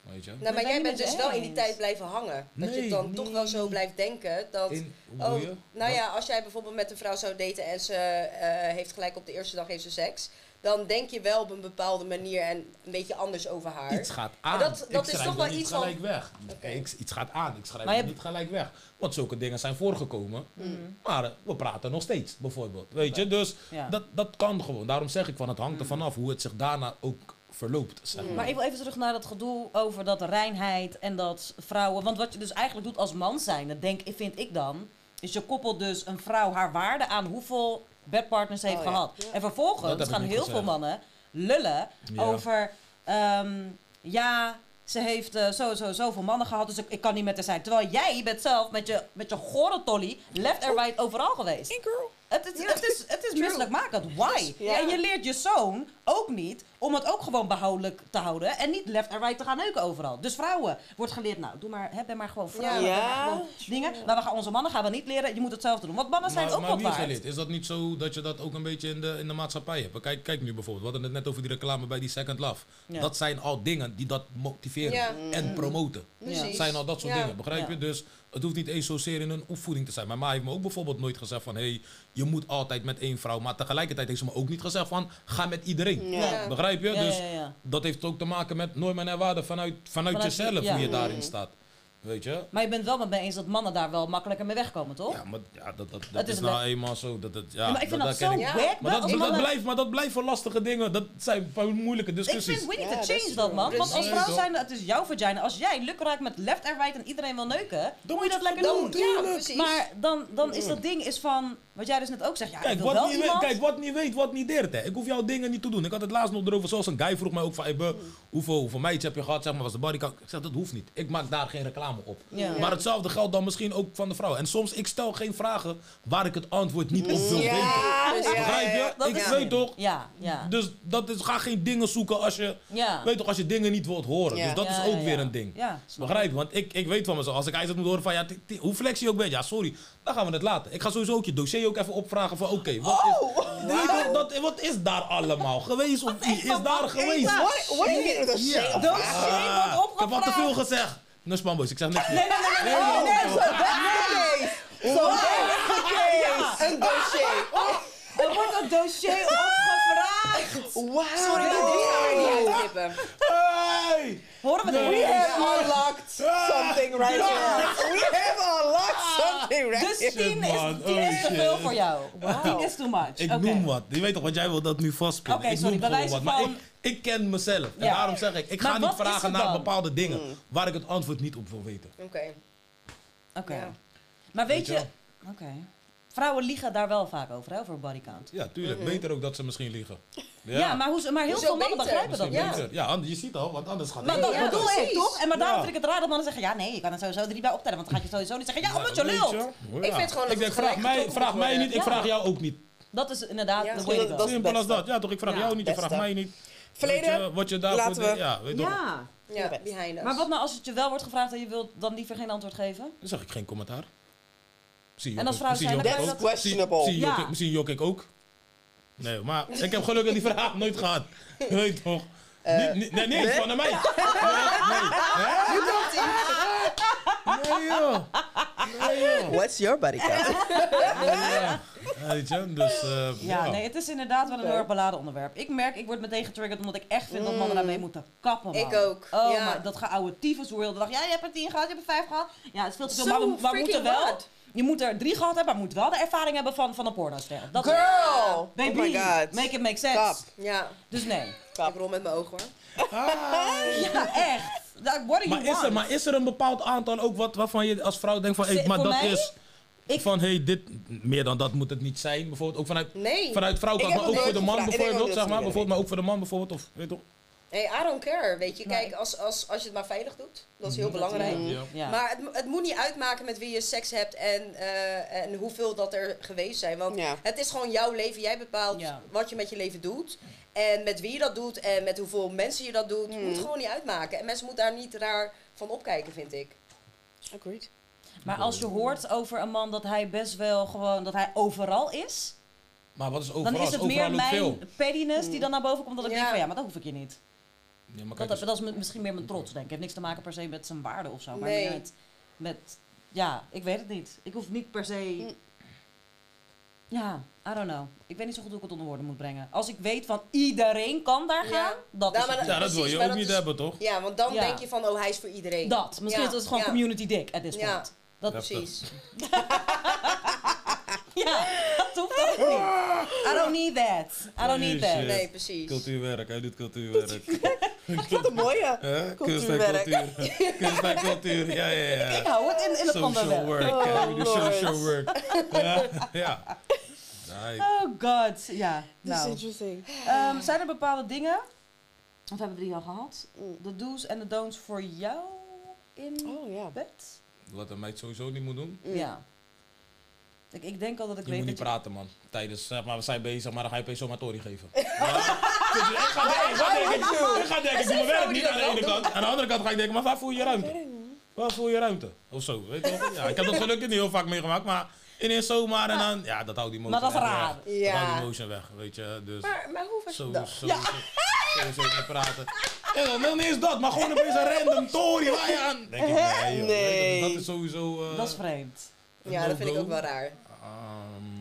A: Weet je?
B: Nou, maar
C: ben
B: jij
C: niet
B: bent
C: met
B: dus
C: je
B: wel in die
C: eens.
B: tijd blijven hangen. Dat je
A: Nee,
B: dan
A: nee.
B: toch wel zo blijft denken dat...
A: In, hoe
B: Oh,
A: bedoel je?
B: nou
A: Dat-
B: ja, als jij bijvoorbeeld met een vrouw zou daten en ze eh, heeft gelijk op de eerste dag heeft ze seks, dan denk je wel op een bepaalde manier en een beetje anders over haar.
A: Iets gaat aan.
B: dat- dat
A: ik
B: is
A: schrijf
B: toch wel
A: dat niet
B: iets van-
A: gelijk weg. Ik, iets gaat aan. Ik schrijf
C: Maar je
A: het niet gelijk weg. Want zulke dingen zijn voorgekomen.
B: Mm.
A: Maar eh, we praten nog steeds, bijvoorbeeld. Weet je, dus
C: Ja.
A: dat, dat kan gewoon. Daarom zeg ik van, het
B: Mm.
A: hangt er vanaf hoe het zich daarna ook verloopt. Zeg
D: Mm.
A: maar.
C: Maar ik wil even terug naar dat gedoe over dat reinheid en dat vrouwen. Want wat je dus eigenlijk doet als man zijn, dat denk, vind ik dan, is je koppelt dus een vrouw haar waarde aan hoeveel bedpartners ze heeft
D: Oh, ja.
C: gehad.
D: Ja.
C: En
A: Dat heb
C: vervolgens
A: ik
C: gaan
A: niet
C: heel veel
A: gezegd.
C: mannen lullen
A: Ja.
C: over, ehm, ja, ze heeft eh, zo, zo, zoveel mannen gehad, dus ik, ik kan niet met haar zijn. Terwijl jij bent zelf met je, met je gore tolly left and right overal geweest.
D: girl.
C: Het, het, het is, het is misselijkmakend. Why?
D: Dus, Ja.
C: En je leert je zoon ook niet om het ook gewoon behoudelijk te houden. En niet left en right te gaan neuken overal. Dus vrouwen wordt geleerd, nou, doe maar, hè, ben maar gewoon vrouw.
D: Ja.
C: ben maar gewoon dingen. Maar we gaan, onze mannen gaan we niet leren. Je moet hetzelfde doen. Want mannen zijn
A: maar,
C: ook
A: maar
C: wat
A: wie is
C: waard.
A: er lid? Is dat niet zo dat je dat ook een beetje in de, in de maatschappij hebt? Kijk, kijk nu bijvoorbeeld, we hadden het net over die reclame bij die Second Love.
C: Ja.
A: Dat zijn al dingen die dat motiveren
B: Ja. Mm.
A: en promoten.
B: Precies.
A: Het zijn al dat soort
B: Ja.
A: dingen, begrijp je?
C: Ja.
A: Dus het hoeft niet eens zozeer in een opvoeding te zijn. Mijn ma heeft me ook bijvoorbeeld nooit gezegd van... hey, je moet altijd met één vrouw. Maar tegelijkertijd heeft ze me ook niet gezegd van... ga met iedereen.
D: Ja.
B: Ja.
A: Begrijp je?
C: Ja,
A: dus
C: ja, ja.
A: dat heeft ook te maken met normen en waarden vanuit, vanuit,
C: Vanuit je-
A: jezelf...
C: ja.
A: hoe je daarin staat. Weet je?
C: Maar je bent wel met me eens dat mannen daar wel makkelijker mee wegkomen, toch?
A: Ja, maar ja, dat, dat, dat
C: is
A: is
C: een
A: nou
C: le-
A: eenmaal zo. Dat, dat, ja,
C: Ja, maar ik vind dat,
A: daar
C: zo
A: ken
B: ik-
C: wack.
B: Ja.
C: wel,
A: Maar dat, maar
C: als
A: dat,
C: mannen-
A: blijft, maar dat blijft voor lastige dingen. Dat zijn voor moeilijke
C: Ik
A: discussies.
C: vind we need
D: Ja,
C: to
D: dat
C: change
D: is
C: dat,
D: true.
C: man. Want als
A: Precies.
C: vrouw zijn, het is jouw vagina. Als jij luk raakt met left en right en iedereen wil neuken, dan moet je dat lekker
B: Dan,
C: doen.
B: ja, precies.
C: Maar dan, dan is dat ding is van, wat jij dus net ook zegt, ja, ik
A: Kijk
C: wil
A: wat,
C: wel
A: niet weet,
C: iemand.
A: kijk, wat niet weet, wat niet deert. Hè. Ik hoef jouw dingen niet te doen. Ik had het laatst nog erover. Zoals een guy vroeg mij ook van... Hey, Be, hoeveel, hoeveel meidjes heb je gehad? Zeg maar, was de bodycount? Ik zeg, dat hoeft niet. Ik maak daar geen reclame op.
C: Ja.
A: Maar hetzelfde geldt dan misschien ook van de vrouw. En soms, ik stel geen vragen waar ik het antwoord niet op wil weten.
D: Ja,
B: Dus-
A: Begrijp je?
C: Dat
A: ik
C: is
A: weet
C: slim.
A: toch?
C: Ja, ja.
A: Dus dat is, ga geen dingen zoeken als je,
C: Ja.
A: weet toch, als je dingen niet wilt horen.
D: Ja.
A: Dus dat
C: Ja,
A: is ook
C: ja,
A: weer
C: ja.
A: een ding.
C: Ja, snap
A: Begrijp je? Want ik, ik weet van mezelf, als ik ijzer moet horen van, ja, t- t- hoe flex je ook bent, ja, sorry, dan gaan we het laten. Ik ga sowieso ook je dossier ook even opvragen van, oké, wat,
C: Oh!
A: is, Weet je, dat, wat is daar allemaal geweest? Of wie is daar geweest? Ah,
C: Eva.
D: What, what do you mean with a shade?
C: Dossier wordt
A: Ik heb al te veel
C: opgevraagd.
A: gezegd. Nou, spanboys, ik zeg niks meer.
D: Oh, nee, zo backface. Zo backface. Een dossier.
C: Er wordt een dossier opgevraagd.
D: Wow.
B: Sorry, maar dit gaan we niet uitknippen.
A: Hey!
C: Horen we
D: We
C: dit?
D: have unlocked something right here. We have unlocked something right
C: Dus
D: here.
C: 10 is,
A: man.
C: tien
A: Oh,
C: is te
A: shit. Oh.
C: veel voor jou. 10 is too much.
A: Ik
C: Oké.
A: noem wat. Je weet toch, want jij wil dat nu vastpinnen.
C: Oké,
A: ik
C: sorry,
A: noem
C: bij
A: gewoon
C: wijze
A: wat. Maar
C: van-
A: ik, ik ken mezelf. En
C: Ja.
A: daarom zeg ik, ik
C: Maar
A: ga niet
C: wat is
A: vragen
C: het
A: naar
C: dan? Mm.
A: bepaalde dingen waar ik het antwoord niet op wil weten.
B: Oké.
C: Oké.
B: Ja.
C: Maar weet
A: Weet je
C: je... Oké. Vrouwen liegen daar wel vaak over, hè, over bodycount.
A: Ja, tuurlijk. Beter ook dat ze misschien liegen.
C: Mm-hmm. Ja, maar, hoe, maar heel
B: Hoezo
C: veel mannen
B: beter?
C: begrijpen dat
A: Misschien
C: niet.
B: Ja.
A: beter. Ja, anders- je ziet al, want anders gaat het
C: Maar
A: niet.
C: dat
B: Ja,
C: bedoel ik
B: precies.
C: toch? En maar daarom
A: Ja.
C: vind ik het raar dat mannen zeggen: ja, nee, je kan er sowieso drie bij optellen. Want dan gaat je sowieso niet zeggen: ja, omdat je
A: weet
C: lult.
A: Ja.
B: Ik vind gewoon dat
A: ik denk,
B: het
A: vraag
B: gelijk
A: mij,
B: getrokken
A: vraag
B: moet
A: mij
B: worden.
A: niet, ik
C: Ja.
A: vraag jou ook niet.
C: Dat is inderdaad
B: Ja.
C: de way to go.
D: Dat is het
A: Simpel als
D: beste.
A: dat. Ja, toch? Ik vraag
C: Ja,
A: jou niet, ik vraag
D: beste.
A: mij niet.
D: Verleden,
A: Weet je, wat je daarvoor
D: laten we-
A: deed, Ja, weet je wel.
C: Ja.
B: Ja, behind us.
C: Maar wat nou als het je wel wordt gevraagd en je wilt dan liever geen antwoord geven?
A: Dan zeg ik geen commentaar. Zie je
C: En
A: ook-
C: als vrouw
A: zie
C: zijn,
A: je
C: dan
A: ook-
C: kan je
D: That's questionable.
A: Zie, zie jok
C: Ja.
A: ik- misschien jok ik ook. Nee, maar ik heb gelukkig die vraag nooit gehad. Weet je toch?
C: Eh.
A: Niet- niet- nee, nee, van de meid. Nee, nee. Hè? Nee, joh. Nee, joh.
D: What's your body count?
A: Ja, Weet je, dus... eh,
C: Ja, nee, het is inderdaad wel een heel erg beladen onderwerp. Ik merk, ik word meteen getriggerd omdat ik echt vind dat mannen daarmee moeten kappen. Man.
B: Mm. Ik ook,
C: Oh,
B: ja.
C: maar dat gaat oude tyfus world. dacht, ja, je hebt er tien gehad, je hebt er vijf gehad. Ja, het is veel te veel.
B: Zo
C: Maar we, maar we
B: freaking
C: moeten wel.
B: hard.
C: Je moet er drie gehad hebben, maar moet wel de ervaring hebben van, van een pornoster. Dat is-
D: Girl!
C: Baby,
D: oh my god.
C: make it make sense.
D: Kap.
B: Ja,
C: Dus nee.
B: ik rol met mijn ogen hoor.
C: Ja, echt. Like, what do you
A: Maar is, er,
C: want?
A: maar is er een bepaald aantal ook wat, waarvan je als vrouw denkt van... Hey,
C: Zit-
A: maar
C: voor
A: dat
C: mij?
A: is...
C: Ik-
A: Van, hey, dit... Meer dan dat moet het niet zijn. Bijvoorbeeld ook vanuit...
B: Nee.
A: Vanuit vrouwkant,
D: Ik
A: maar
D: heb
A: ook
D: het
A: voor de
D: nooit
A: man
D: gevraagd. Ik denk
A: bijvoorbeeld,
D: ook
A: zeg
D: dat
A: maar.
D: ze
A: Bijvoorbeeld, maar ook voor de man bijvoorbeeld, of weet je toch?
B: Nee, I don't care. Weet je,
C: Nee. Mm,
B: kijk, als, als, als je het maar veilig doet, dat is heel belangrijk.
A: Ja.
C: Ja.
B: Maar het, mo- het moet niet uitmaken met wie je seks hebt en, eh, en hoeveel dat er geweest zijn. Want
D: Ja.
B: het is gewoon jouw leven. Jij bepaalt
C: Ja.
B: wat je met je leven doet.
C: Mm.
B: En met wie je dat doet en met hoeveel mensen je dat doet. Moet gewoon niet uitmaken. En mensen moeten daar niet raar van opkijken, vind ik.
D: Agreed.
C: Maar als je hoort over een man dat hij best wel gewoon, dat hij overal is,
A: Maar wat is overal?
C: dan is het
A: overal
C: meer
A: ook
C: mijn
A: veel.
C: pettiness die dan naar boven komt. Dat ik
B: Mm. Ja.
C: denk van ja, maar dat hoef ik je niet.
A: Ja, maar
C: Dat,
A: kijk,
C: dat,
A: dus-
C: dat is mi- misschien meer mijn trots, denk ik. heeft niks te maken per se met zijn waarde of zo. Maar
B: Nee.
C: meer met, met, ja, ik weet het niet. Ik hoef niet per
B: Mm.
C: se... Ja, I don't know. Ik weet niet zo goed hoe ik het onder woorden moet brengen. Als ik weet van iedereen kan daar
B: Ja.
C: gaan, dat
B: Nou,
C: is
B: maar
C: het.
A: ja, dat wil
B: precies,
A: je
B: maar
A: ook
B: dat
A: niet
B: is-
A: hebben, toch?
B: Ja, want dan
C: Ja.
B: denk je van, oh, hij is voor iedereen.
C: Dat. Misschien
B: Ja,
C: is het gewoon
B: ja.
C: community dick at this
B: Ja.
C: point. Dat, ja.
A: Ja.
B: Precies.
C: dat hoeft ook niet.
D: Ah.
C: I don't need that. I don't need that.
A: Jezus.
B: Nee, precies.
A: Cultuurwerk, hij doet cultuurwerk.
D: Wat een mooie.
A: Hè? Kunst en
D: Cultuurwerk.
A: cultuur. Kunst en cultuur, ja, ja,
C: Ik
A: ja.
C: hou het in, in het
A: Social
C: onderwerp.
A: work,
D: Oh,
A: hè? We do
D: Lord.
A: social work. Ja, ja. Nee.
C: Oh god, ja.
D: This is
C: Nou.
D: interesting.
C: Ehm, zijn er bepaalde dingen, want we hebben drie al gehad, de do's en de don'ts voor jou in
D: Mm. Oh ja.
C: bed?
A: Wat een meid sowieso niet moet doen.
D: Mm.
C: Ja. Ik, ik denk al dat ik
A: Je
C: weet
A: moet niet
C: dat
A: praten, man. Tijdens, zeg maar, we zijn bezig, maar dan ga je opeens zomaar Tori geven. Ja. Dus ik ga denken, ik ga denken, ik ga denken, ik doe mijn werk niet aan de ene kant. Aan de andere kant ga ik denken, maar waar voel je je ruimte? Waar voel je ruimte? Of zo, weet je wel. Ja, ik heb dat gelukkig niet heel vaak meegemaakt, maar ineens zomaar en dan... Ja, dat houdt die
C: Maar
A: motion
C: dat is
A: echt weg.
C: raar.
A: Dat houdt
B: Ja.
A: die motion weg, weet je. Dus
B: Maar, maar hoe was
A: zo,
B: dat?
A: zo, zo, zo, zo mee praten. En dan, dan is dat, maar gewoon opeens een random Tori, waar je aan... Denk ik, nee, joh,
D: Nee.
A: Dat, dat is sowieso... eh,
C: je... Dat is vreemd.
A: een
B: Ja, dat vind ik
A: no-go.
B: ook wel raar.
A: Ehm,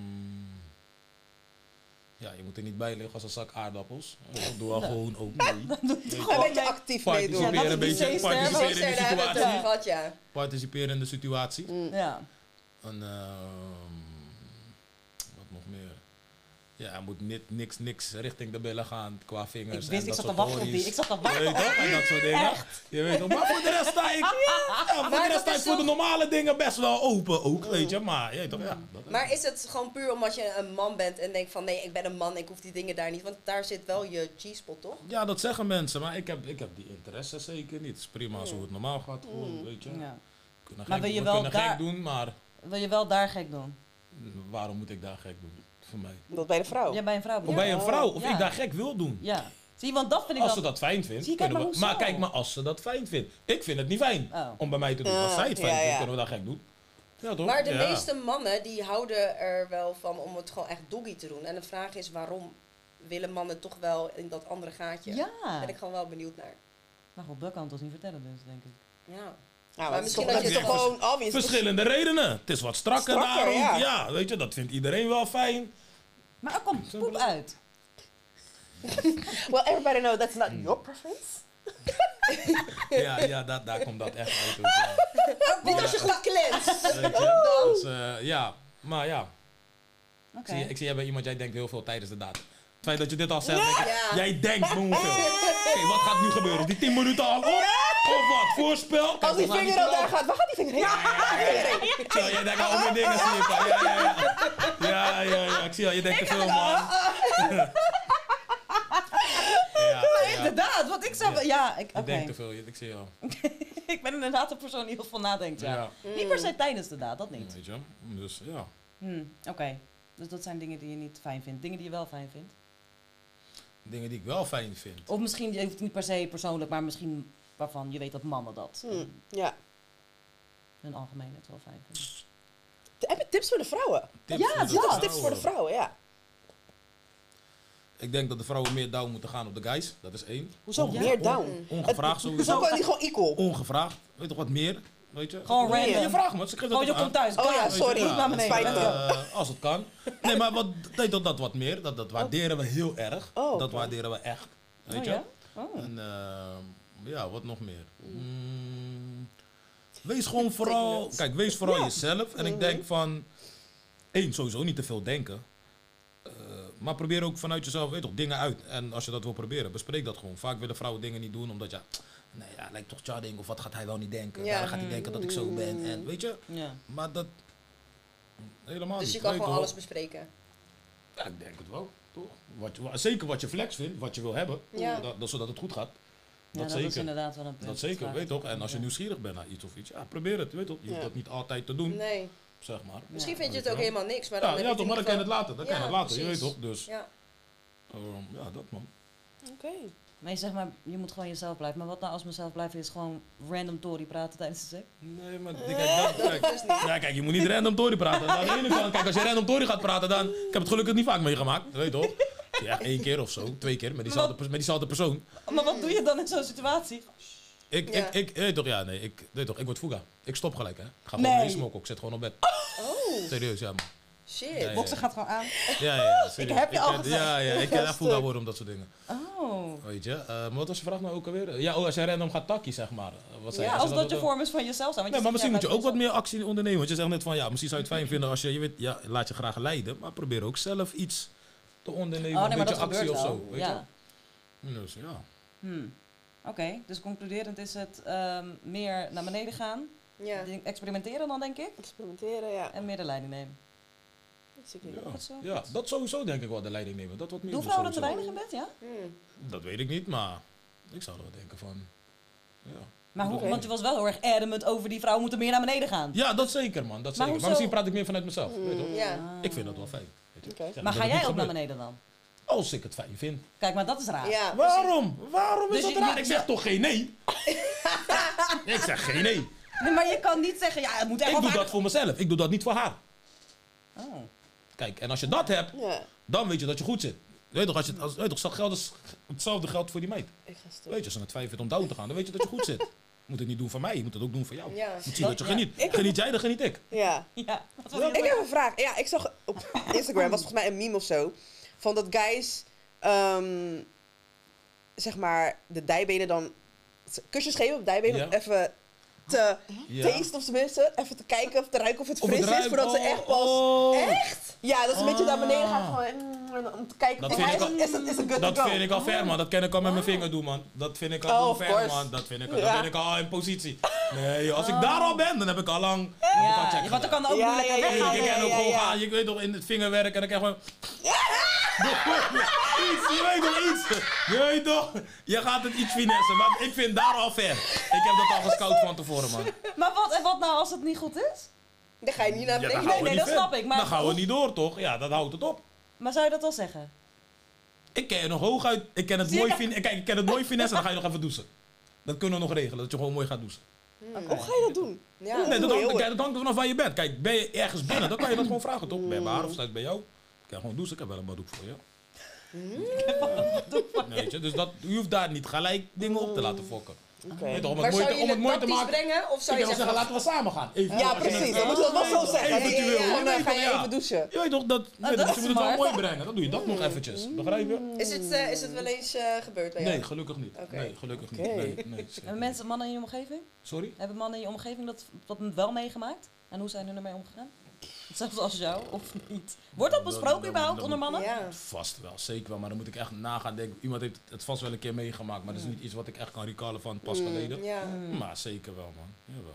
A: ja, je moet er niet bij liggen als een zak aardappels. Doe al gewoon ook mee.
D: Gewoon een beetje actief meedoen.
C: Ja, dat
A: Participeren
C: is
A: een
C: die
A: beetje. Participeren
C: zeester.
A: in
B: Zeester,
A: de
B: daar hebben we het
A: situatie.
B: over gehad, ja.
A: Participeren in de situatie.
C: Mm. Ja.
A: En, ehm, wat nog meer? Ja, hij moet ni- niks, niks richting de billen gaan qua
C: Ik
A: vingers.
C: wist,
A: en
C: ik
A: dat
C: zat te
A: soort
C: wachten op die.
A: horries.
C: Ik zat te
A: Je
C: wachten
A: weet
C: op
A: toch? En dat soort dingen. Je weet toch? Maar voor de rest sta ik. Ja, voor
B: Maar
A: de rest
B: dat
A: sta ik
B: is
A: voor de
B: zo-
A: normale dingen best wel open ook, weet je. Maar, je weet toch? Ja, dat-
B: Maar is het gewoon puur omdat je een man bent en denkt van nee, ik ben een man, ik hoef die dingen daar niet. Want daar zit wel je G-spot, toch?
A: Ja, dat zeggen mensen, maar ik heb, ik heb die interesse zeker niet. Het is prima als hoe het normaal gaat, gewoon, weet je.
C: Mm. Ja.
A: We kunnen,
C: Maar
A: gek,
C: wil je
A: we
C: wel
A: kunnen
C: daar-
A: gek doen, maar
C: Wil je wel daar gek doen?
A: waarom moet ik daar gek doen? Voor mij.
D: Dat bij de vrouw.
C: Jij bij een vrouw
A: Of
C: bent.
A: Oh. bij een vrouw, of
C: Ja.
A: ik daar gek wil doen.
C: Ja. Zie, want dat vind ik
A: Als ze
C: wel...
A: dat fijn vindt,
C: Zie je, kijk
A: kunnen we...
C: maar
A: Maar
C: hoezo?
A: kijk maar, als ze dat fijn vindt. Ik vind het niet fijn
C: Oh.
A: om bij mij te doen. Als
D: Ah,
A: zij het
D: ja,
A: fijn vindt,
D: ja.
A: kunnen we dat gek doen. Ja, toch?
B: Maar de
A: Ja.
B: meeste mannen die houden er wel van om het gewoon echt doggy te doen. En de vraag is waarom willen mannen toch wel in dat andere gaatje?
C: Ja.
B: Daar ben ik gewoon wel benieuwd naar.
C: Maar goed, dat kan het ons niet vertellen dus, denk ik.
B: Ja.
D: Nou,
B: Maar
D: dat is
B: misschien
D: toch- dat
B: dat je
D: is toch
A: het vers-
D: gewoon obvious.
C: dus-
A: Verschillende redenen. Het is wat strakker,
D: Strakker,
A: daarom.
D: ja.
A: Ja. weet je, dat vindt iedereen wel fijn.
C: Maar er komt poep uit.
D: Well, everybody know that's not your preference.
A: Ja, ja dat, daar komt dat echt uit. ook, ja.
B: Niet als je goed cleanst.
A: Weet je? Dus, eh, ja, maar ja.
C: Oké.
A: Ik zie, ik zie jij bij iemand, jij denkt heel veel tijdens de daad. Het feit dat je dit al zegt, denk ik,
B: Ja.
A: jij denkt gewoon veel. Oké, wat gaat nu gebeuren? Is die 10 minuten al op? Of wat? Voorspel? Kijk,
D: Als die
A: dat gaat
D: vinger
A: niet
D: al daar
A: gebeuren.
D: gaat, waar gaat die vinger heen?
A: Zo, jij denkt al over dingen, zie ik al. Ja, ja, ja. Ja, ja, ja. Ik zie al, je denkt te veel,
D: Oh,
A: man. Ja, ja.
C: Inderdaad, want ik zou...
A: Ja.
C: wel- Ja, ik...
A: Je
C: Oké.
A: denkt te veel, je- ik zie al.
C: ik ben inderdaad een persoon die heel veel nadenkt, ja.
A: Ja,
C: Niet per se tijdens de daad, dat niet.
A: weet je. Dus ja.
C: Hmm, Oké, dus dat zijn dingen die je niet fijn vindt. Dingen die je wel fijn vindt.
A: Dingen die ik wel fijn vind.
C: Of misschien, je hoeft niet per se persoonlijk, maar misschien waarvan je weet dat mannen dat
D: Hm, Ja.
C: in hun algemeen het wel fijn vinden.
D: Heb je tips voor de vrouwen?
A: Tips
C: Ja,
A: voor de
C: dat
D: Dat is
A: vrouwen.
D: tips voor de vrouwen, ja.
A: Ik denk dat de vrouwen meer down moeten gaan op de guys. Dat is één.
D: Hoezo
A: Onge-
D: meer down?
A: Ongevraagd sowieso.
D: Hoezo kan die gewoon equal?
A: ongevraagd. Weet toch wat meer? Weet je?
C: Gewoon
A: Nee,
C: random.
A: Je vraagt me, ze geeft dat
C: Oh, je
A: toch aan.
C: komt thuis.
D: Oh ja,
C: klaar.
D: sorry.
C: Niet naar beneden.
D: Spijt me.
C: Dankjewel.
A: Eh, als het kan. Nee, maar wat, weet toch dat wat meer? Dat, dat waarderen we heel erg.
D: Oh, oké.
A: dat waarderen we echt. Weet
C: Oh,
A: je?
C: ja? Oh.
A: En ehm, ja, wat nog meer? Mm, wees gewoon vooral... Kijk, wees vooral jezelf. En
B: Mhm.
A: ik denk van... één, sowieso niet te veel denken. Eh, maar probeer ook vanuit jezelf, weet toch, dingen uit. En als je dat wil proberen, bespreek dat gewoon. Vaak willen vrouwen dingen niet doen, omdat ja... Nee, ja, lijkt toch charming. Of wat gaat hij wel niet denken?
B: Ja. Mm.
A: Ja. gaat hij denken dat ik zo ben? En weet je?
C: Ja.
A: Maar dat... Helemaal
B: Dus
A: niet.
B: je kan
A: weet
B: gewoon
A: toch?
B: alles bespreken.
A: Ja, ik denk het wel, toch? Wat, wa- zeker wat je flex vindt, wat je wil hebben,
B: Ja.
A: dat, dat- zodat het goed gaat.
C: Ja,
A: Dat
C: dat is
A: zeker.
C: inderdaad wel een punt.
A: dat zeker,
C: Vraag
A: weet toch? En als je
C: ja.
A: nieuwsgierig bent naar iets of iets, ja, probeer het, weet toch? Je hoeft
D: Ja.
A: dat niet altijd te doen,
B: Nee.
A: zeg maar.
B: Misschien
A: Ja,
B: vind je
A: weet
B: het
A: wel.
B: ook helemaal niks. Maar dan
A: Ja,
B: heb
A: ja
B: je
A: toch,
B: in
A: maar dan
B: ieder
A: kan je Dus, het later, dan kan je
B: Ja,
A: het later, je weet
B: precies.
A: toch? Dus,
B: geval- Ja.
A: ehm, ja, dat man.
D: Oké.
C: Maar je zegt maar, je moet gewoon jezelf blijven. Maar wat nou als mezelf blijven is gewoon random Tory praten tijdens de seks?
A: Nee, maar kijk, dat, kijk, ja, kijk, je moet niet random Tory praten. Aan de ene kant, kijk, als je random Tory gaat praten, dan... Ik heb het gelukkig niet vaak meegemaakt, weet je toch? Ja, één keer of zo, twee keer, met diezelfde, pers- met diezelfde persoon.
C: Maar wat doe je dan in zo'n situatie?
A: Ik,
B: Ja.
A: ik, ik, weet je toch, ja, nee, ik, weet je toch, ik word fuga. Ik stop gelijk, hè. Ik ga gewoon
C: Nee.
A: mee smoken, ik zit gewoon op bed.
B: Oh,
A: Serieus, ja, man.
B: shit.
A: Ja, ja.
C: Boksen gaat gewoon aan.
A: Ja, ja, ja, serieus.
C: heb je al
A: eh,
C: gezegd.
A: Ja, ja, ik kan echt fuga worden om dat soort dingen.
C: Oh.
A: Weet je, eh, maar wat was je vraag nou ook alweer? Ja, oh, als jij random gaat takkie, zeg maar. eh, Wat zei
C: Ja,
A: je?
C: als
A: Als
C: dat je
A: ook-
C: vorm is van jezelf zijn. want
A: Nee,
C: je
A: maar misschien
C: zegt,
A: moet je
C: ja,
A: ook wat meer actie ondernemen. Want je zegt net van, ja, misschien zou je het fijn vinden als je, je weet, ja, laat je graag leiden. Maar probeer ook zelf iets te ondernemen.
C: Oh
A: een
C: nee, maar
A: beetje
C: dat gebeurt
A: actie of zo.
C: wel.
A: Weet
C: Ja.
A: je? Dus, ja.
C: Hmm. Oké, dus concluderend is het ehm, meer naar beneden gaan,
B: Ja.
C: ding- experimenteren dan denk ik,
D: Experimenteren, ja.
C: en meer de leiding nemen.
D: Dat is ook niet.
A: Ja.
C: Goed zo.
A: ja, dat sowieso denk ik wel de leiding nemen. Dat wat meer
C: Doen
A: doen
C: vrouwen te
A: sowieso.
C: weinig in bed, ja?
B: Hmm.
A: Dat weet ik niet, maar ik zou er wel denken van, ja.
C: Maar hoe,
A: Oké.
C: Want je was wel heel erg adamant over die vrouwen moeten meer naar beneden gaan.
A: Ja, dat zeker man, dat
C: Maar
A: zeker. Maar,
C: hoezo-
A: misschien praat ik meer vanuit mezelf, weet je toch?
B: Ja.
C: Ah.
A: Ik vind dat wel fijn. weet je.
D: Oké.
A: Ik zeg
C: Maar
A: niet
C: ga
A: dat het
C: jij ook
A: niet
C: naar
A: gebeurt.
C: beneden dan?
A: Als ik het fijn vind.
C: Kijk, maar dat is raar.
B: Ja, precies.
A: Waarom? Waarom is
C: Dus
A: dat
C: je-
A: raar?
C: je-
A: Ik zeg toch geen nee? ik zeg geen nee.
C: Nee, maar je kan niet zeggen, ja, het moet echt
A: Ik doe
C: wel
A: dat voor mezelf. Ik doe dat niet voor haar.
C: vaker- Oh.
A: Kijk, en als je dat hebt,
D: Ja,
A: dan weet je dat je goed zit. Weet je toch, als je, als, weet je toch zo- geld is, hetzelfde geldt voor die meid.
D: ik ga stoppen.
A: Weet je, als je naar twijfel om down te gaan, dan weet je dat je goed zit. Je moet het niet doen voor mij, je moet het ook doen voor jou.
B: Ja.
A: Je moet zien dat je
C: Ja.
A: geniet. Geniet jij, dan geniet ik.
D: Ja.
C: Ja. Wat wil je
D: Ik
C: zeggen?
D: heb een vraag. Ja, ik zag op Instagram, was volgens mij een meme of zo, van dat guys, ehm, zeg maar, de dijbenen dan, kusjes geven op dijbenen om
A: Ja.
D: even te
A: Ja.
D: tasten of tenminste, even te kijken of te ruiken of het
A: Of
D: fris
A: het
D: is,
A: ruikt-
D: voordat ze
A: oh,
D: echt pas...
A: oh.
D: Ja, dat ze een beetje naar beneden gaan,
A: Ah.
D: gewoon mm, om te kijken
A: Dat
D: of
A: vind
D: hij
A: ik
D: is,
A: al-
D: is, het- is het good
A: Dat
D: to go.
A: vind ik al ver, man. Dat kan ik al met mijn vinger doen, man. Dat vind ik
D: Oh,
A: al
D: of
A: ver,
D: course.
A: man. Dat, vind ik al,
D: Ja. Oh.
A: dat ben ik al in positie. Nee, joh, als ik daar al ben, dan heb ik al lang.
C: Ja, want dan kan ook
D: Ja,
C: moeilijk
D: ja, ja,
C: weggaan.
D: ja,
A: Ik
D: ja,
A: kan ook
D: ja,
A: gewoon
D: ja.
A: gaan. Je weet toch, in het vingerwerk en dan krijg je gewoon. Iets, je weet toch iets? Je weet toch? Je gaat het iets finessen, maar ik vind daar al ver. Ik heb dat al gescout van tevoren, man.
C: Maar wat, en wat nou als het niet goed is?
B: Dan ga je niet naar
A: Ja, dan
B: beneden.
A: gaan we
C: nee,
A: niet
C: dat
A: ver.
C: snap ik, maar-
A: Dan gaan we niet door, toch? Ja, dat houdt het op.
C: Maar zou je dat wel zeggen?
A: Ik ken je nog hooguit. Ik ken het
C: Zie je
A: mooi,
C: dat?
A: fin- kijk, ik ken het mooi finesse. Dan ga je nog even douchen. Dat kunnen we nog regelen. Dat je gewoon mooi gaat douchen.
D: Hoe ga je dat doen?
B: Ja.
A: Nee, dat
D: Oei,
A: hangt,
D: oei.
A: kijk, dat hangt er vanaf waar je bent. Kijk, ben je ergens binnen, dan kan je dat gewoon vragen, toch? Bij mijn haar of straks bij jou. Ik kan gewoon douchen. Ik heb wel een baddoek voor je.
D: Hmm.
A: Nee, weet je, dus dat, je hoeft daar niet gelijk dingen op te laten fokken.
D: Oké.
A: Weet je, om het
B: Maar
A: mooi
B: zou
A: te,
B: je
A: om het
B: het
A: mooi te
B: tactisch
A: maken.
B: brengen? Of
A: Ik
B: zou je
A: wil zeggen,
B: zeggen...
A: laten we samen gaan. Even,
D: Ja,
A: als je
D: precies.
A: net-
D: Dan moeten we dat wel zo zeggen. Ja,
A: Eventueel.
D: ja, ja. En dan ga je
A: Eventueel, ja.
D: even Ah, douchen.
A: Je weet toch, dat, nee,
C: dat
A: dus
C: is
A: je moet het wel
C: smart.
A: mooi brengen. Dan doe je dat
D: Hmm.
A: nog eventjes. Begrijp je?
B: Is het, eh, is het wel eens eh, gebeurd bij jou?
A: Nee, gelukkig niet.
B: Oké.
A: Nee, gelukkig
D: Oké.
A: niet. Nee, nee, zeker
C: Hebben
A: niet.
C: mensen, mannen in je omgeving?
A: Sorry?
C: Hebben mannen in je omgeving dat, dat wel meegemaakt? En hoe zijn hun ermee omgegaan? Hetzelfde als jou, of niet? Wordt dat
A: Dat-
C: besproken
A: dat-
C: überhaupt
A: dat-
C: onder mannen?
B: Ja.
A: Vast wel, zeker wel. Maar dan moet ik echt nagaan denken. Iemand heeft het vast wel een keer meegemaakt, maar dat
C: Mm.
A: is niet iets wat ik echt kan recallen van pas geleden.
B: Ja.
A: Maar zeker wel, man. Jawel.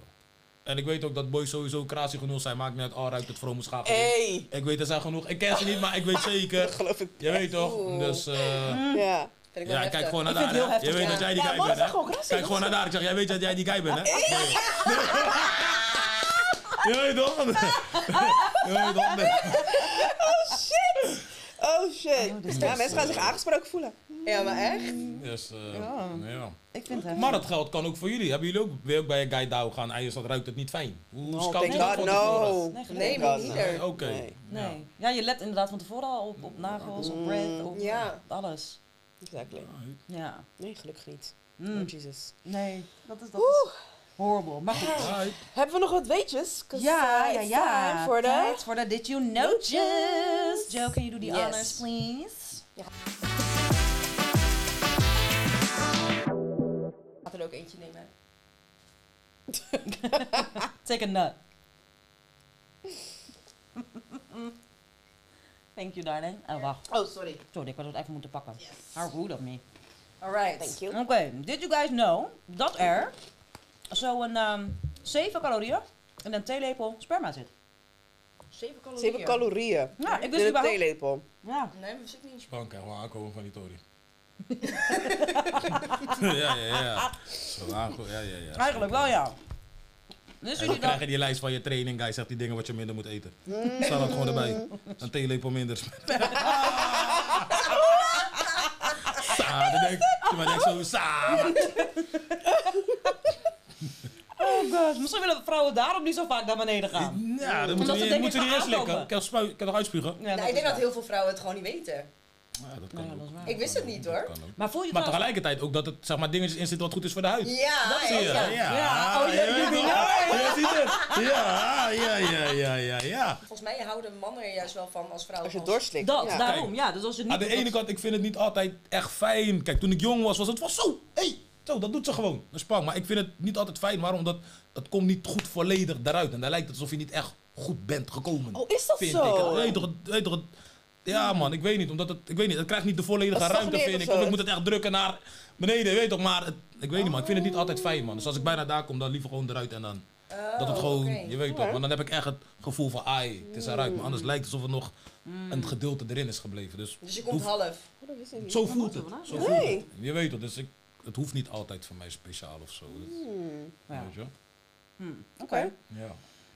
A: En ik weet ook dat boys sowieso krasie genoeg zijn. Maakt niet uit, al ruikt het vrome schaap.
C: Eh.
D: Hey,
A: Ik weet, er zijn genoeg. Ik ken ze niet, maar ik weet
D: dat
A: zeker.
D: geloof ik.
A: Je weet toch?
B: Oeh.
A: Dus eh,
D: Ja.
B: Vind ik wel
A: ja, ik
B: heftig.
A: kijk gewoon naar
C: Ik
A: daar.
C: vind het heel
A: hè. Je
C: heftig,
A: weet
B: ja.
A: dat jij die
D: Ja,
A: guy
D: mannen
A: bent,
D: zijn
A: hè?
D: gewoon krassig,
A: Kijk
D: dat
A: gewoon naar daar. Ik zeg, jij weet dat jij die guy bent, hè? Nee. Je weet toch? Je weet toch? Nee.
D: Oh shit.
C: Oh, dit is
D: ja,
C: echt
D: mensen gaan
A: zo.
D: zich aangesproken voelen.
B: Ja, maar echt?
A: Dus, eh,
C: Ja.
A: ja.
C: Ik vind het
A: Maar dat geld kan ook voor jullie. Hebben jullie ook, weer ook bij een guy down gaan en je zat, ruikt het niet fijn? Hoe
D: Oh,
A: scout je
D: thank
A: dat
D: God,
A: van
D: no.
A: tevoren?
C: Nee,
B: Nee,
C: gelukkig
B: me
D: God,
A: Nee,
B: neither.
A: Oké.
D: Nee.
A: Ja. Mm.
C: Nee. Ja, je let inderdaad van tevoren al op, op nagels, op red, op
B: Ja.
C: alles.
D: Exactly.
C: Ja.
D: Nee, gelukkig niet.
A: Hm.
C: Mm.
D: Oh, Jesus.
C: Nee, dat is, dat is horrible. Maar goed.
A: Alright.
D: Hebben we nog wat weetjes? 'Cause,
C: Ja,
D: eh,
C: ja,
D: it's
C: ja.
D: time for the-
C: Tijd voor de Did You Notice? Joe, can you do the
D: Yes.
C: honors, please?
B: Gaat er ook eentje nemen.
C: Take a nut. Thank you, darling. Oh, wacht.
D: Oh, sorry.
C: Sorry, ik had het even moeten pakken. How rude of me.
B: Alright.
D: Thank
C: Oké,
D: you.
C: did you guys know dat er zo'n ehm 7 calorieën in een theelepel sperma zit?
B: Zeven calorieën.
D: Ze hebben calorieën.
C: Ja, ik
D: In
C: wist
D: een
C: überhaupt...
D: theelepel.
C: Ja.
B: Nee, maar zit niet.
A: Spank en gewoon aankomen van die Tory. ja, ja, ja. Zo aankomen, ja, ja, ja.
C: Eigenlijk wel, ja. Dus
A: En dan
C: jullie
A: krijg
C: dat...
A: je die lijst van je training, guy zegt die dingen wat je minder moet eten.
D: Mm.
A: Staat dat gewoon erbij. Een theelepel minder. sa. Dan denk ik, maar denk ik zo, sa.
C: Oh god, misschien willen vrouwen daarom niet zo vaak naar beneden gaan.
A: Nou, dan
C: Omdat
A: moeten
C: ze
A: we
C: denken,
A: moeten
C: ik
A: die
C: ga
A: eerst likken.
C: aankomen.
A: Ik kan, spui, ik kan nog uitspugen.
C: Ja,
B: nou, ik
C: is
B: denk dat
C: waar.
B: heel veel vrouwen het gewoon niet weten.
A: Ja, dat
C: Ja,
A: kan
C: dat
A: ook.
C: is waar.
B: Ik wist het niet hoor.
A: Kan ook.
C: Maar voel je
A: Maar
C: trouwens-
A: tegelijkertijd ook dat het zeg maar, dingetjes in zit wat goed is voor de huid.
B: Ja,
C: Dat
A: Zie
B: ja,
A: je?
B: ja.
C: Ja, oh, ja,
A: je
C: ja,
A: weet
C: ja,
B: nou-
A: wel. Je ziet het. Ja, ja, ja, ja, ja, ja.
B: Volgens mij houden mannen er juist wel van als vrouwen.
D: Als je het
B: van-
D: doorslikt.
C: Oh. Dat,
D: ja.
C: daarom. Ja, dus als je niet...
A: Aan de ene kant, ik vind het niet altijd echt fijn. Kijk, toen ik jong was, was het van zo, hey, zo, dat doet ze gewoon. Een spang. Maar ik vind het niet altijd fijn. Waarom? Omdat het komt niet goed volledig daaruit. En dan lijkt het alsof je niet echt goed bent gekomen.
D: Oh, is dat
A: vind
D: zo?
A: ik. Het- Weet toch, het- weet toch, het- ja man, ik weet niet. Omdat het, ik weet niet, het krijgt niet de volledige
D: Dat
A: ruimte,
D: stagneert
A: vind ik.
D: of zo.
A: Of ik moet het echt drukken naar beneden, weet toch. Maar het- ik weet niet, maar ik vind het niet altijd fijn man. Dus als ik bijna daar kom, dan liever gewoon eruit en dan...
B: Oh,
A: Dat het gewoon,
B: oké.
A: je weet
D: Hoor.
A: toch, want dan heb ik echt het gevoel van, ai, het is eruit. Maar anders
D: Hmm.
A: lijkt het alsof er nog een gedeelte erin is gebleven. Dus
B: Dus je komt half.
D: Oh, dat wist ik niet.
A: zo voelt
C: dat
A: het.
C: wel aan.
A: Zo voelt
D: Nee.
A: het. Je weet het, dus ik, het hoeft niet altijd voor mij speciaal of zo. Dat-
C: Ja.
A: Weet je? wel?
C: Hmm, Oké.
D: Oké.
A: Ja.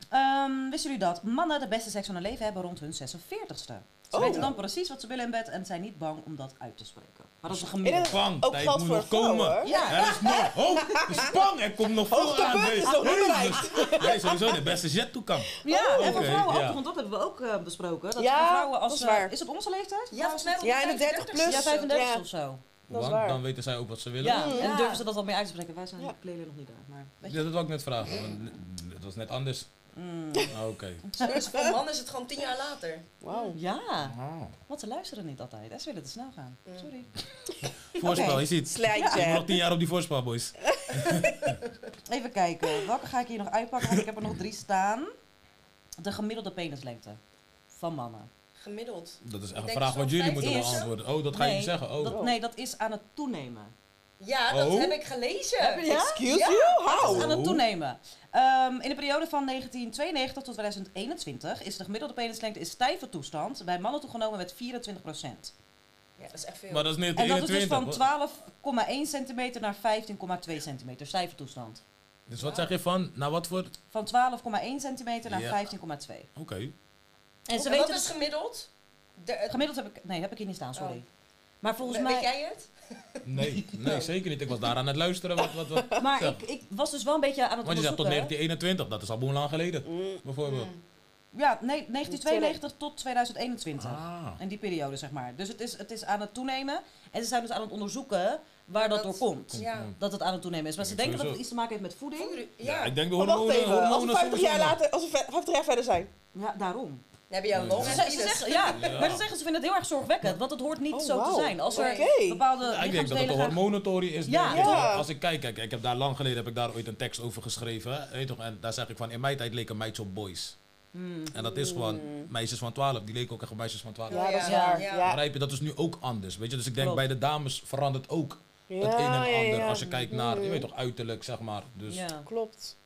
C: Ehm, wisten jullie dat mannen de beste seks van hun leven hebben rond hun 46ste? Ze
D: Oh.
C: weten dan precies wat ze willen in bed en zijn niet bang om dat uit te spreken. Maar dat is een
D: Ik
C: gemiddelde.
D: denk
A: Bang,
D: Ook
A: tijd
D: geldt
A: moet
D: voor
A: nog
D: vrouwen,
A: komen.
D: hoor.
C: Ja.
A: Er is nog hoop, er is bang, er komt nog veel aan.
D: Hoogtepunt
A: nee.
D: is nog niet
A: Nee,
D: bereikt.
A: dus- Nee, sowieso de beste jet toe kan.
C: Ja, en voor
A: oké,
C: vrouwen
A: ja.
C: ook, want dat hebben we ook eh, besproken. Dat
D: Ja,
C: voor vrouwen als,
D: dat is
C: eh,
D: waar.
C: is het onze leeftijd?
B: Ja, volgens mij rond
D: Ja, in de 30 plus.
C: Ja,
B: of zo.
C: 35
D: Ja.
C: of zo.
D: Dat
A: Want
D: is waar.
A: dan weten zij ook wat ze willen.
C: Ja,
D: Mm.
C: en
B: Ja.
C: dan durven ze dat wat meer uit te spreken. Wij zijn
D: Ja.
C: kleden nog niet daar, maar weet je.
A: Ja, dat wil ik net vragen, want het was net anders.
C: Mm.
A: Ah, Oké.
B: Dus voor mannen is het gewoon tien jaar later.
D: Wauw.
C: Ja,
A: Ah.
C: want ze luisteren niet altijd. En ze willen te snel gaan. Sorry.
A: Voorspel, je ziet. Ik ben nog
D: Slijtje.
A: tien jaar op die voorspel, boys.
C: Even kijken, welke ga ik hier nog uitpakken? Want ik heb er nog drie staan. De gemiddelde penislengte van mannen.
B: Gemiddeld.
A: Dat is echt een
B: denk
A: vraag
B: zo'n
A: wat jullie
B: vijf
A: moeten
C: is-
A: beantwoorden. Oh, dat ga je
C: Nee,
A: niet zeggen. Oh.
C: Dat, nee, dat is aan het toenemen.
B: Ja, dat
A: Oh.
B: heb ik gelezen.
C: Heb je die? Ja?
D: Excuse you?
C: Dat is
D: How?
C: aan het toenemen. Ehm, in de periode van 1992 tot 2021 is de gemiddelde penislengte in stijve toestand bij mannen toegenomen met 24
B: Ja, dat is echt veel.
A: Maar dat is net
C: En dat is dus
A: 21.
C: van 12,1 centimeter naar 15,2 centimeter, stijve toestand.
A: Dus wat zeg je van? Nou, wat voor? Oké.
C: Van 12,1 centimeter naar
A: Ja.
C: 15,2. En ze
B: En wat
C: weten
B: is
C: dus,
B: gemiddeld? De, het-
C: gemiddeld heb ik, nee, heb ik hier niet staan, sorry.
B: Oh.
C: Maar volgens
B: we-
C: mij,
B: Weet jij het?
A: Nee, nee, zeker niet. Ik was daar aan het luisteren. Wat, wat, wat.
C: maar
A: Ja.
C: ik, ik was dus wel een beetje aan het
A: Want je zegt tot
C: onderzoeken.
A: 1921, dat is al boem lang geleden.
D: Mm.
A: Bijvoorbeeld.
C: Ja, nee, 1992 tot 2021.
A: Ah.
C: In die periode, zeg maar. Dus het is, het is aan het toenemen. En ze zijn dus aan het onderzoeken waar
B: Dat-
C: dat, door komt.
B: Ja.
C: Dat het aan het toenemen is. Maar ze
A: Ja,
C: denken dat het
A: sowieso.
C: iets te maken heeft met voeding.
A: Ja,
B: Ja.
A: ik denk de
D: Maar Oh, Wacht
A: hormonen.
D: even, als
A: hormonen
D: we 50 jaar
A: sowieso, man.
D: later, als we 50 jaar verder zijn.
C: Ja, daarom.
B: Dan heb je een long
A: Ja.
C: Ze,
B: en
C: ze- ze
B: penis.
C: zeggen, ja,
A: Ja.
C: Maar ze zeggen, ze vinden het heel erg zorgwekkend. Want het hoort niet
D: Oh,
C: zo
D: wauw.
C: te zijn. Als er
D: Oké.
C: bepaalde
A: Ja, ik denk dat het
C: lichaamsdelen
A: een
C: gaan-
A: hormonentory is.
C: Ja.
A: denk ik.
D: Ja.
A: Als ik kijk, kijk, ik heb daar lang geleden heb ik daar ooit een tekst over geschreven. hè, Weet toch? En daar zeg ik van, in mijn tijd leken meisjes op boys.
C: Hmm,
A: En dat is gewoon meisjes van 12. Die leken ook echt op meisjes van 12.
D: Mm. Ja, dat is
B: Ja,
D: waar.
B: ja.
D: Ja.
A: Begrijp je? Dat is nu ook anders. Weet je? Dus ik denk,
C: Klopt.
A: bij de dames verandert ook het
D: Ja,
A: een en ander.
D: ja, Mm. ja.
A: Als je kijkt naar, je weet toch, uiterlijk, zeg maar. Dus, ja.
C: Ja.
D: Klopt.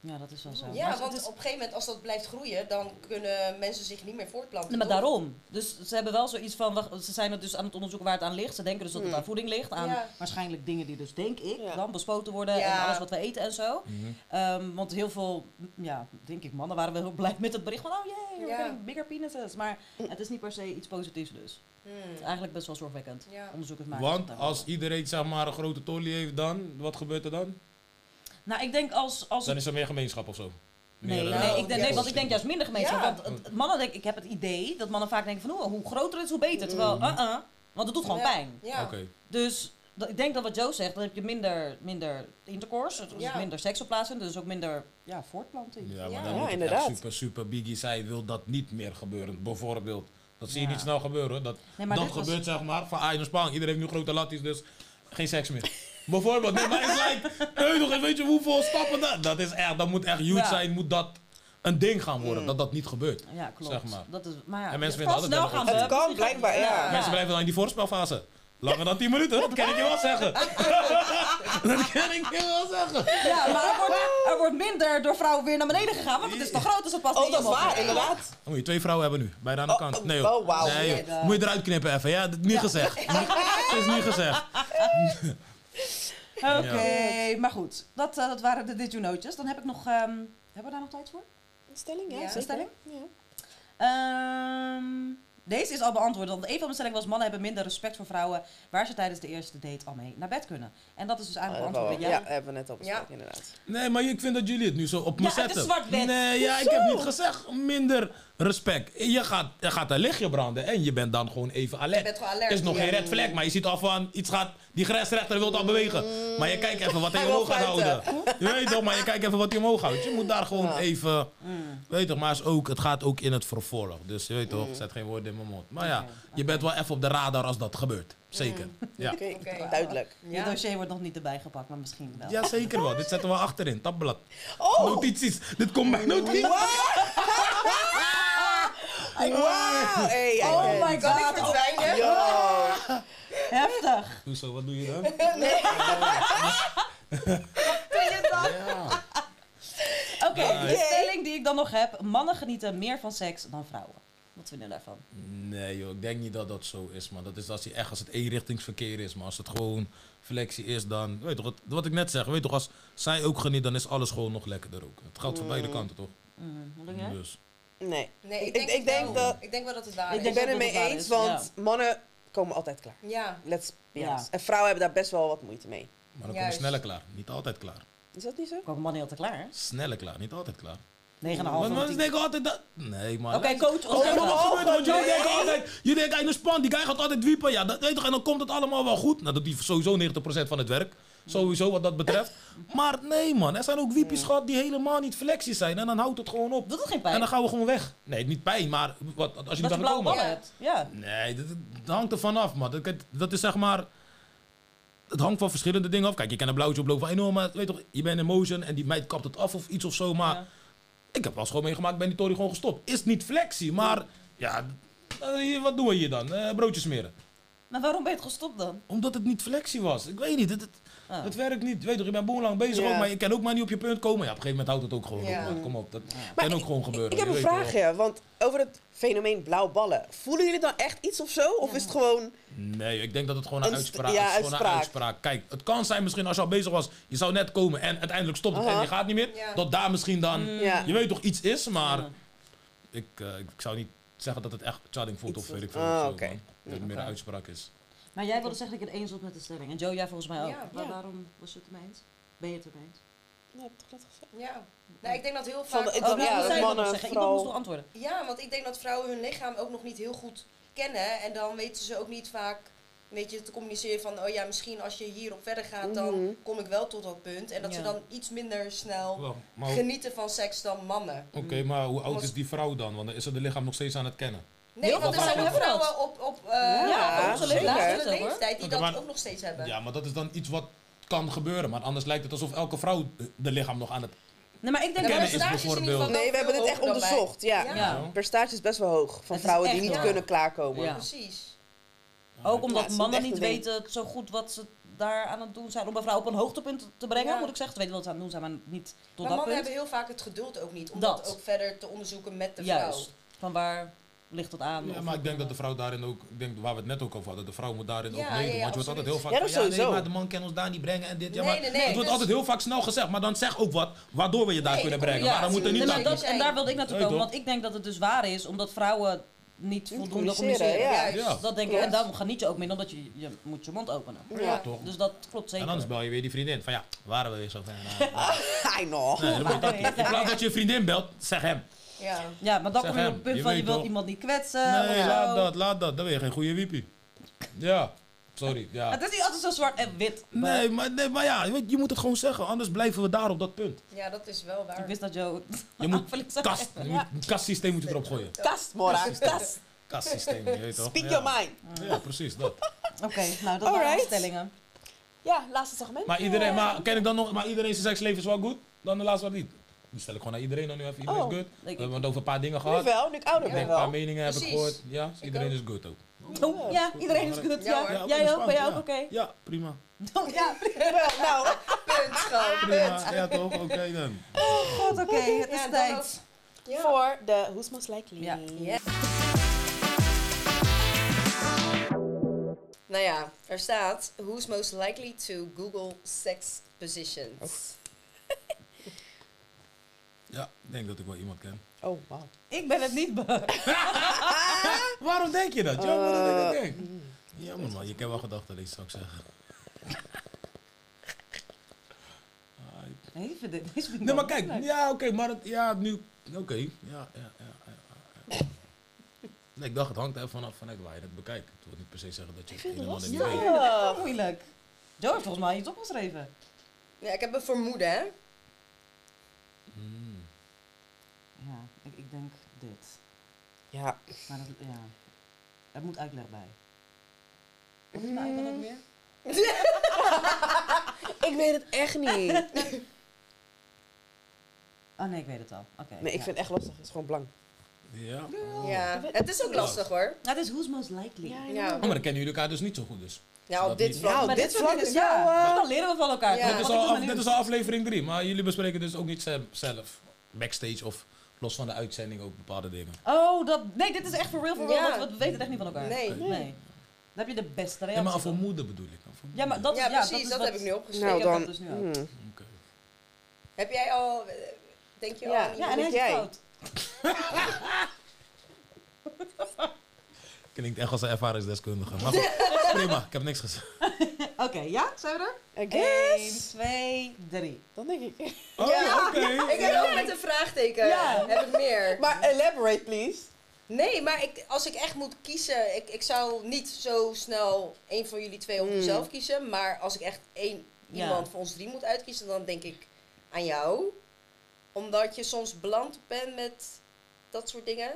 C: ja, dat is wel zo. Maar dus-
B: Ja,
C: het
B: want
C: is-
B: op een gegeven moment als dat blijft groeien, dan kunnen mensen zich niet meer voortplanten.
C: Nee, maar
B: toch?
C: daarom. Dus ze hebben wel zoiets van, wacht, ze zijn het dus aan het onderzoeken waar het aan ligt. Ze denken dus dat het aan voeding ligt, aan
B: Ja.
C: waarschijnlijk dingen die dus, denk ik,
D: Ja.
C: dan bespoten worden en
B: Ja.
C: alles wat we eten en zo.
A: Mhm.
C: Ehm, want heel veel, ja, denk ik, mannen waren wel heel blij met het bericht van, oh jee, we're
B: Ja.
C: getting bigger penises. Maar het is niet per se iets positiefs dus. Het
B: Hmm.
C: is eigenlijk best wel zorgwekkend.
B: Ja.
C: Onderzoekers maken.
A: Want
C: het
A: als
C: daarover.
A: iedereen zeg maar een grote tolly heeft dan, wat gebeurt er dan?
C: Nou, ik denk als... als
A: Dan is er meer gemeenschap of zo.
C: Nee,
A: Meer,
C: nee,
A: eh,
B: Nou,
C: ik denk, nee,
B: juist.
C: want ik denk juist minder gemeenschap.
B: Ja.
C: Want het- het mannen, denk, ik heb het idee dat mannen vaak denken van oh, hoe, hoe groter het is, hoe beter. Terwijl,
A: Mm.
C: uh-uh, want het doet gewoon
B: Ja.
C: pijn.
B: Ja.
A: Oké.
C: Dus dat- ik denk dat wat Joe zegt, dan heb je minder, minder intercourse, dus
B: Ja.
C: minder seks op plaatsvinden, dus ook minder ja, voortplanting.
A: Ja, maar
B: Ja.
A: dan
B: Ja,
A: moet het echt
D: inderdaad.
A: super, super biggie zijn. Wil dat niet meer gebeuren, bijvoorbeeld. Dat zie je
C: Ja.
A: niet snel gebeuren. Dat,
C: Nee, maar
A: dat
C: dit was-
A: gebeurt zeg maar van Ajax naar Spaan. Iedereen heeft nu grote latties, dus geen seks meer. bijvoorbeeld. Nee, maar het lijkt, hey, nog eens, weet je hoeveel stappen dat... Dat is echt, dat moet echt huge
C: Ja.
A: zijn. Moet dat een ding gaan worden, dat dat niet gebeurt.
C: Ja, klopt.
A: Zeg maar.
C: Dat is, maar ja,
A: En mensen
C: het
A: vinden
C: kan
A: altijd
C: snel
A: dat het
C: gaan.
A: goed
C: hè?
A: is.
D: Het kan blijkbaar, ja.
A: Mensen blijven dan in die voorspelfase. Langer dan 10 minuten, dat kan ik je wel zeggen. dat kan ik je wel zeggen.
C: Ja, maar er wordt, er wordt minder door vrouwen weer naar beneden gegaan, want het is te groot, dus het past
D: Oh,
C: niet
D: dat is
C: helemaal
D: waar,
C: goed.
D: inderdaad.
A: Dan moet je twee vrouwen hebben nu, bijna aan de
D: Oh,
A: kant.
D: oh,
A: Nee joh.
D: oh, wauw.
A: Nee, joh.
B: Shit.
A: Moet je eruit knippen even, ja? Dat- Niet gezegd. Het is niet gezegd.
C: Oké, maar goed. Dat, eh, dat waren de Did You Know'tjes. Dan heb ik nog... ehm, hebben we daar nog tijd voor?
D: Een stelling, ja.
B: Ja, een
D: zeker.
C: stelling?
D: Ja.
C: Ehm, Deze is al beantwoord, want een van mijn stellingen was... mannen hebben minder respect voor vrouwen... waar ze tijdens de eerste date al mee naar bed kunnen. En dat is dus
D: Ja,
C: eigenlijk
D: Oh, dat
C: beantwoord.
D: wel-
C: door
D: ja,
C: jou.
D: hebben we net al besproken,
B: Ja.
D: inderdaad.
A: Nee, maar ik vind dat jullie het nu zo op me
C: Ja, het is
A: zetten.
C: zwart-wit.
A: Nee, ja, ik heb niet gezegd minder respect. Je gaat, je gaat een lichtje branden en je bent dan gewoon even alert.
B: Je bent gewoon alert,
A: is nog
B: ja.
A: geen red flag, maar je ziet al van iets gaat. Die grensrechter wil al bewegen. Maar je kijkt even wat hij
D: Hij wil
A: omhoog gaat houden.
D: fluiten.
A: Je weet toch, maar je kijkt even wat hij omhoog houdt. Je moet daar gewoon even. Weet toch, maar is ook, het gaat ook in het vervolg. Dus je weet toch, zet geen woorden in mijn mond. Maar ja, je bent wel even op de radar als dat gebeurt. Zeker. Ja.
D: Oké,
B: Oké.
D: duidelijk.
C: Je dossier wordt nog niet erbij gepakt, maar misschien wel.
A: ja, zeker wel. Dit zetten we achterin, tabblad.
D: Oh!
A: Notities. Dit komt bij notities.
D: Wauw! Hey,
C: Oh my
B: Kan ik
C: god, oh,
B: verdwijnen?
D: Yo!
C: heftig.
A: Hoezo, wat doe je dan? Ja.
C: Oké, de
D: Nice.
C: stelling die ik dan nog heb. Mannen genieten meer van seks dan vrouwen. Wat vinden jullie daarvan?
A: Nee joh, ik denk niet dat dat zo is man. Dat is als je echt als het eenrichtingsverkeer is. Maar als het gewoon flexie is dan... Weet toch, wat, wat ik net zeg. Weet toch, als zij ook geniet, dan is alles gewoon nog lekkerder ook. Het geldt voor beide kanten toch?
C: Mm, wat denk jij?
A: Dus,
D: Nee.
B: Nee, ik
D: Ik-
B: denk,
D: ik denk
B: wel-
D: dat-
B: ik denk wel dat het waar
C: Ah, Ik
B: is.
D: Ik
C: denk
D: ben
C: dat
D: het mee
C: dat waar
D: eens,
C: is,
D: want mannen komen altijd klaar.
B: Ja.
D: Let's be
C: Ja.
D: honest. En vrouwen hebben daar best wel wat moeite mee.
A: maar dan kom je
B: Juist.
A: sneller klaar. Niet altijd klaar.
D: Is dat niet zo?
C: Ik kwam man heel te klaar. hè? 9,5
A: Sneller klaar, niet altijd klaar. Want
C: van
A: mensen
C: 10.
A: denken altijd dat... Nee man.
C: Oké, coach.
A: Oh,
C: ons-
A: wat gebeurt er? Want jullie denken altijd, jullie denken in de span, die guy gaat altijd wiepen. Ja, dat weet toch, en dan komt het allemaal wel goed. Nou, dat doet hij sowieso 90% van het werk. Sowieso wat dat betreft. Maar nee man, er zijn ook wiepjes gehad die helemaal niet flexie zijn. En dan houdt het gewoon op.
C: Doet het geen
A: En
C: pijn?
A: dan gaan we gewoon weg. Nee, niet pijn, maar wat, als je
C: dat
A: niet
C: je
A: aan
C: blauwe
A: komen.
C: ballen
B: Ja.
C: hebt. Ja.
A: Nee, dat, dat hangt er vanaf man. Dat, dat is zeg maar... Het hangt van verschillende dingen af. Kijk, je kan een blauwtje oplopen van enorm, maar weet toch, je bent in motion en die meid kapt het af of iets of zo. Maar
C: Ja.
A: ik heb wel eens gewoon meegemaakt, ik ben die tory gewoon gestopt. Is niet flexie, maar ja, eh, hier, wat doen we hier dan? Eh, broodjes smeren.
C: Maar waarom ben je het gestopt dan?
A: Omdat het niet flexie was. Ik weet niet, het, het,
C: Ah.
A: het werkt niet. Weet toch, je bent boerenlang bezig
D: Ja.
A: ook, maar je kan ook maar niet op je punt komen. Ja, op een gegeven moment houdt het ook gewoon
B: Ja.
A: op. man. Kom op, dat
D: Maar
A: kan ook gewoon gebeuren.
D: Ik heb
A: je
D: een
A: weet toch
D: vraag, ja, want over het fenomeen blauw ballen. Voelen jullie dan echt iets of zo? Of is het gewoon...
A: Mm. Nee, ik denk dat het gewoon een
D: Een st-
A: uitspraak
D: ja,
A: is. Gewoon een
D: uitspraak.
A: uitspraak. Kijk, het kan zijn misschien als je al bezig was, je zou net komen en uiteindelijk stopt het
D: Aha. Mm.
A: en je gaat niet meer.
B: Ja.
A: Dat daar misschien dan,
D: Ja.
A: je weet toch, iets is, maar
C: Mm.
A: ik, eh, ik zou niet zeggen dat het echt chatting voelt
D: Iets
A: of weet ik
D: is-
A: veel.
D: Ah,
A: of zo,
D: oké.
A: man. Dat het meer een uitspraak is.
C: Maar jij wilde zeggen dat ik het eens was met de stelling. En Joe, jij volgens mij ook.
B: Ja.
C: Wa-
D: Ja.
C: Waarom was je het ermee eens? Ben je het ermee eens?
D: Ja, heb ik toch net gezegd?
B: Ja. Nou, ik denk dat heel
D: Van
B: vaak...
D: de- ik
C: Oh,
D: dacht,
C: nou,
D: ja,
C: moest
D: dat
C: zij dat
D: mannen
C: nog zeggen. Iemand
D: vooral-
C: moest nog antwoorden.
B: Ja, want ik denk dat vrouwen hun lichaam ook nog niet heel goed kennen. En dan weten ze ook niet vaak weet je, te communiceren van... oh ja, misschien als je hierop verder gaat, dan
D: Mhm.
B: kom ik wel tot dat punt. En dat ze
C: Ja.
B: dan iets minder snel
A: Oh, Wel, maar hoe-
B: genieten van seks dan mannen.
A: Oké, maar hoe oud
B: Als-
A: is die vrouw dan? Want dan is ze de lichaam nog steeds aan het kennen.
B: Nee,
C: Heel
B: want er
A: veel
B: zijn ook
C: vrouwen hebben
B: vrouwen op, op eh
C: Ja,
A: onze
B: op
C: leeftijd
B: latere
C: ook, hoor.
B: leeftijd die
A: Oké,
B: dat
A: maar-
B: ook nog steeds hebben.
A: Ja, maar dat is dan iets wat kan gebeuren. Maar anders lijkt het alsof elke vrouw de lichaam nog aan het...
C: Nee, maar ik denk
A: Ja,
C: dat
A: Kennis
B: maar
A: is
B: de percentage in ieder geval
A: bijvoorbeeld-
B: wel
D: Nee, we hebben
B: veel
D: dit echt
B: hoger dan wij.
D: onderzocht. Ja.
B: Ja.
A: Ja.
D: Het percentage is best wel hoog van
C: Het is
D: vrouwen die
C: echt
D: niet
B: hoog.
D: kunnen klaarkomen.
C: Ja.
B: Precies.
C: ook
D: Ja,
C: omdat
D: het is
C: mannen
D: echt een
C: niet
D: ding.
C: weten zo goed wat ze daar aan het doen zijn. Om een vrouw op een hoogtepunt te brengen,
B: Ja.
C: moet ik zeggen. Ze weten wat ze aan het doen zijn, maar niet tot
B: maar
C: dat
B: mannen
C: punt.
B: hebben heel vaak het geduld ook niet om dat.
C: Dat.
B: ook verder te onderzoeken met de vrouw.
C: Juist. Van waar ligt dat aan?
A: Ja,
C: Of-
A: maar ik denk dat de vrouw daarin ook, ik denk waar we het net ook over hadden, de vrouw moet daarin
B: Ja,
A: ook meedoen.
B: ja, ja,
A: want je wordt altijd
B: absoluut.
A: heel vaak
D: Ja, dat
A: van, nee,
D: sowieso.
A: maar de man kan ons daar niet brengen en dit. Ja,
B: Nee,
A: maar
B: nee, nee,
A: het wordt
B: dus-
A: altijd heel vaak snel gezegd, maar dan zeg ook wat waardoor we je daar
B: Nee,
A: kunnen
B: dat
A: brengen.
B: klopt.
A: maar dan
B: Ja,
A: moet er
C: Nee,
A: niet
C: maar
A: aan.
C: dat, en daar wilde ik naartoe
A: Nee,
C: komen,
A: toch?
C: want ik denk dat het dus waar is, omdat vrouwen niet
D: Niet
C: voldoende communiceren.
D: communiceren, ja.
B: Juist.
A: Ja.
C: Dat denk ik,
D: Klopt.
C: en daarom geniet je ook minder, omdat je, je moet je mond openen.
B: Ja.
A: Toch?
C: Dus dat klopt zeker.
A: En anders bel je weer die vriendin van ja, waren we weer zo ver. nou,
B: Oh,
A: nou.
D: I know.
A: Nee, dan moet je dat niet. In plaats dat je vriendin belt, zeg hem.
B: Oh, Ja.
C: Ja, maar dan
A: Zeg
C: kom je
A: hem,
C: op het punt
A: je
C: van je
A: weet
C: wilt
A: toch?
C: iemand niet kwetsen. of
A: Nee,
C: zo.
A: laat dat, laat dat. Dan ben je geen goede wiepie. Ja, sorry. Ja.
C: Het is niet altijd zo zwart en wit. maar
A: Nee, maar, nee, maar ja, je weet, je moet het gewoon zeggen, anders blijven we daar op dat punt.
B: ja, dat is wel
C: Ik
B: waar.
C: wist dat Joe.
A: Je moet
C: aanvulling zou
A: kast,
C: geven.
A: je moet- een kastsysteem moet je erop gooien.
D: Kast, Mora. Kast.
A: Kastsysteem, je weet toch?
D: Speak
A: Ja.
D: your mind.
A: Ja, precies dat.
C: Oké, nou dat waren de
D: Alright.
C: stellingen.
D: Ja, laatste segment.
A: Maar iedereen, maar ken ik dan nog, maar iedereen zijn seksleven is wel goed? Dan de laatste wat niet. Die stel ik gewoon naar iedereen dan nu even. Iedereen
D: Oh.
A: is good. We
C: ik-
A: hebben het over een paar dingen
D: Nu
A: gehad.
D: wel, nu ik ouder
A: Ik denk
D: ben
A: een paar
D: wel.
A: meningen heb ik
B: Precies.
A: gehoord. Ja, iedereen
B: ook.
A: is good ook.
C: Oh, ja, iedereen is goed.
B: Ja,
C: Ja,
B: hoor.
C: jij ook,
A: ontspannen,
C: ben jij
A: ja.
C: ook oké?
A: Ja, prima.
C: Oh, Ja,
D: Wel, nou,
B: Punt, gewoon. Punt.
A: Prima, ja toch? Oké dan.
C: god, oké, het is
B: Ja, dan
C: tijd.
B: ook- Ja.
D: voor de Who's Most Likely.
C: Ja.
B: Ja. Nou ja, er staat Who's most likely to Google sex positions?
A: Ja, Ja, ik denk dat ik wel iemand ken.
D: Oh, wauw.
C: Ik ben het niet beu.
A: Waarom denk je dat?
C: Oh.
A: Jammer dat ik dat denk. Jammer man, je kan wel gedacht dat ik het zou zeggen. Ah, ik-
C: Nee, ik vind dit- deze vind ik
A: Nee, maar
C: wel
A: kijk,
C: leuk.
A: ja, oké, maar dat, ja, nu, oké, ja, ja, ja, ja, ja, ja. Nee, ik dacht, het hangt er vanaf vanuit waar je het bekijkt. Het wil niet per se zeggen dat je het helemaal niet
C: Ja,
A: weet.
C: dat is wel moeilijk. Joe heeft volgens mij iets opgeschreven.
B: Ja, ik heb een vermoeden, hè?
A: Mm.
C: Ja, ik, ik denk dit.
D: Ja.
C: Maar dat, ja. Er moet uitleg bij. Wat is nou eigenlijk ook weer?
D: Ik weet het echt niet.
C: Oh nee, ik weet het al. Oké.
D: Nee, ik
C: ja.
D: vind het echt lastig. Het is gewoon blank.
A: Ja.
B: Ja, het is ook lastig hoor.
C: Ja, Nou, het Oh. is who's most likely.
D: Ja,
A: Oh, maar dan kennen jullie elkaar dus niet zo goed dus.
B: Nou, op
A: Dat
B: dit
A: niet.
B: vlak.
D: Nou, dit
C: soort
D: vlak
C: dingen-
D: is wel,
C: Ja,
D: eh,
C: dan leren we van elkaar.
B: Ja.
A: dit,
C: Want
A: is
C: ik
A: al
C: ben
A: af-
C: benieuwd.
A: dit is al aflevering 3, maar jullie bespreken dus ook niet ze- zelf, backstage of los van de uitzending ook bepaalde dingen.
C: Oh, dat... Nee, dit is echt voor real, voor real.
B: Ja.
C: want we weten het echt niet van elkaar.
B: Nee.
C: Nee. Dan heb je de beste reactie.
A: Ja, maar voor
C: dan.
A: moeder bedoel ik. nou, voor moeder.
C: Ja, maar dat,
B: Ja,
C: ja,
B: precies,
C: is
B: dat,
C: wat-
B: heb ik nu opgeschreven.
D: Nou,
C: ik heb dat
D: dan...
C: dus nu al.
D: hmm.
A: Oké.
B: Heb jij al, eh, denk je al?
D: Ja.
B: aan
C: Ja,
B: iemand?
C: en hij is
D: Jij.
C: fout.
A: Klinkt echt als een ervaringsdeskundige. Maar goed, is prima, ik heb niks gezegd.
C: Oké, ja? Zijn we er?
D: I guess.
C: 1, 2, 3.
D: Dan denk ik...
A: Oh,
B: Ja.
A: oké.
B: Ik heb ook met een vraagteken.
C: Ja.
B: Heb ik meer?
D: Maar elaborate, please.
B: Nee, maar ik, als ik echt moet kiezen, ik, ik zou niet zo snel één van jullie twee of
A: Hmm.
D: Mm.
B: mezelf kiezen. Maar als ik echt één
C: Ja.
B: iemand van ons drie moet uitkiezen, dan denk ik aan jou. Omdat je soms beland bent met dat soort dingen,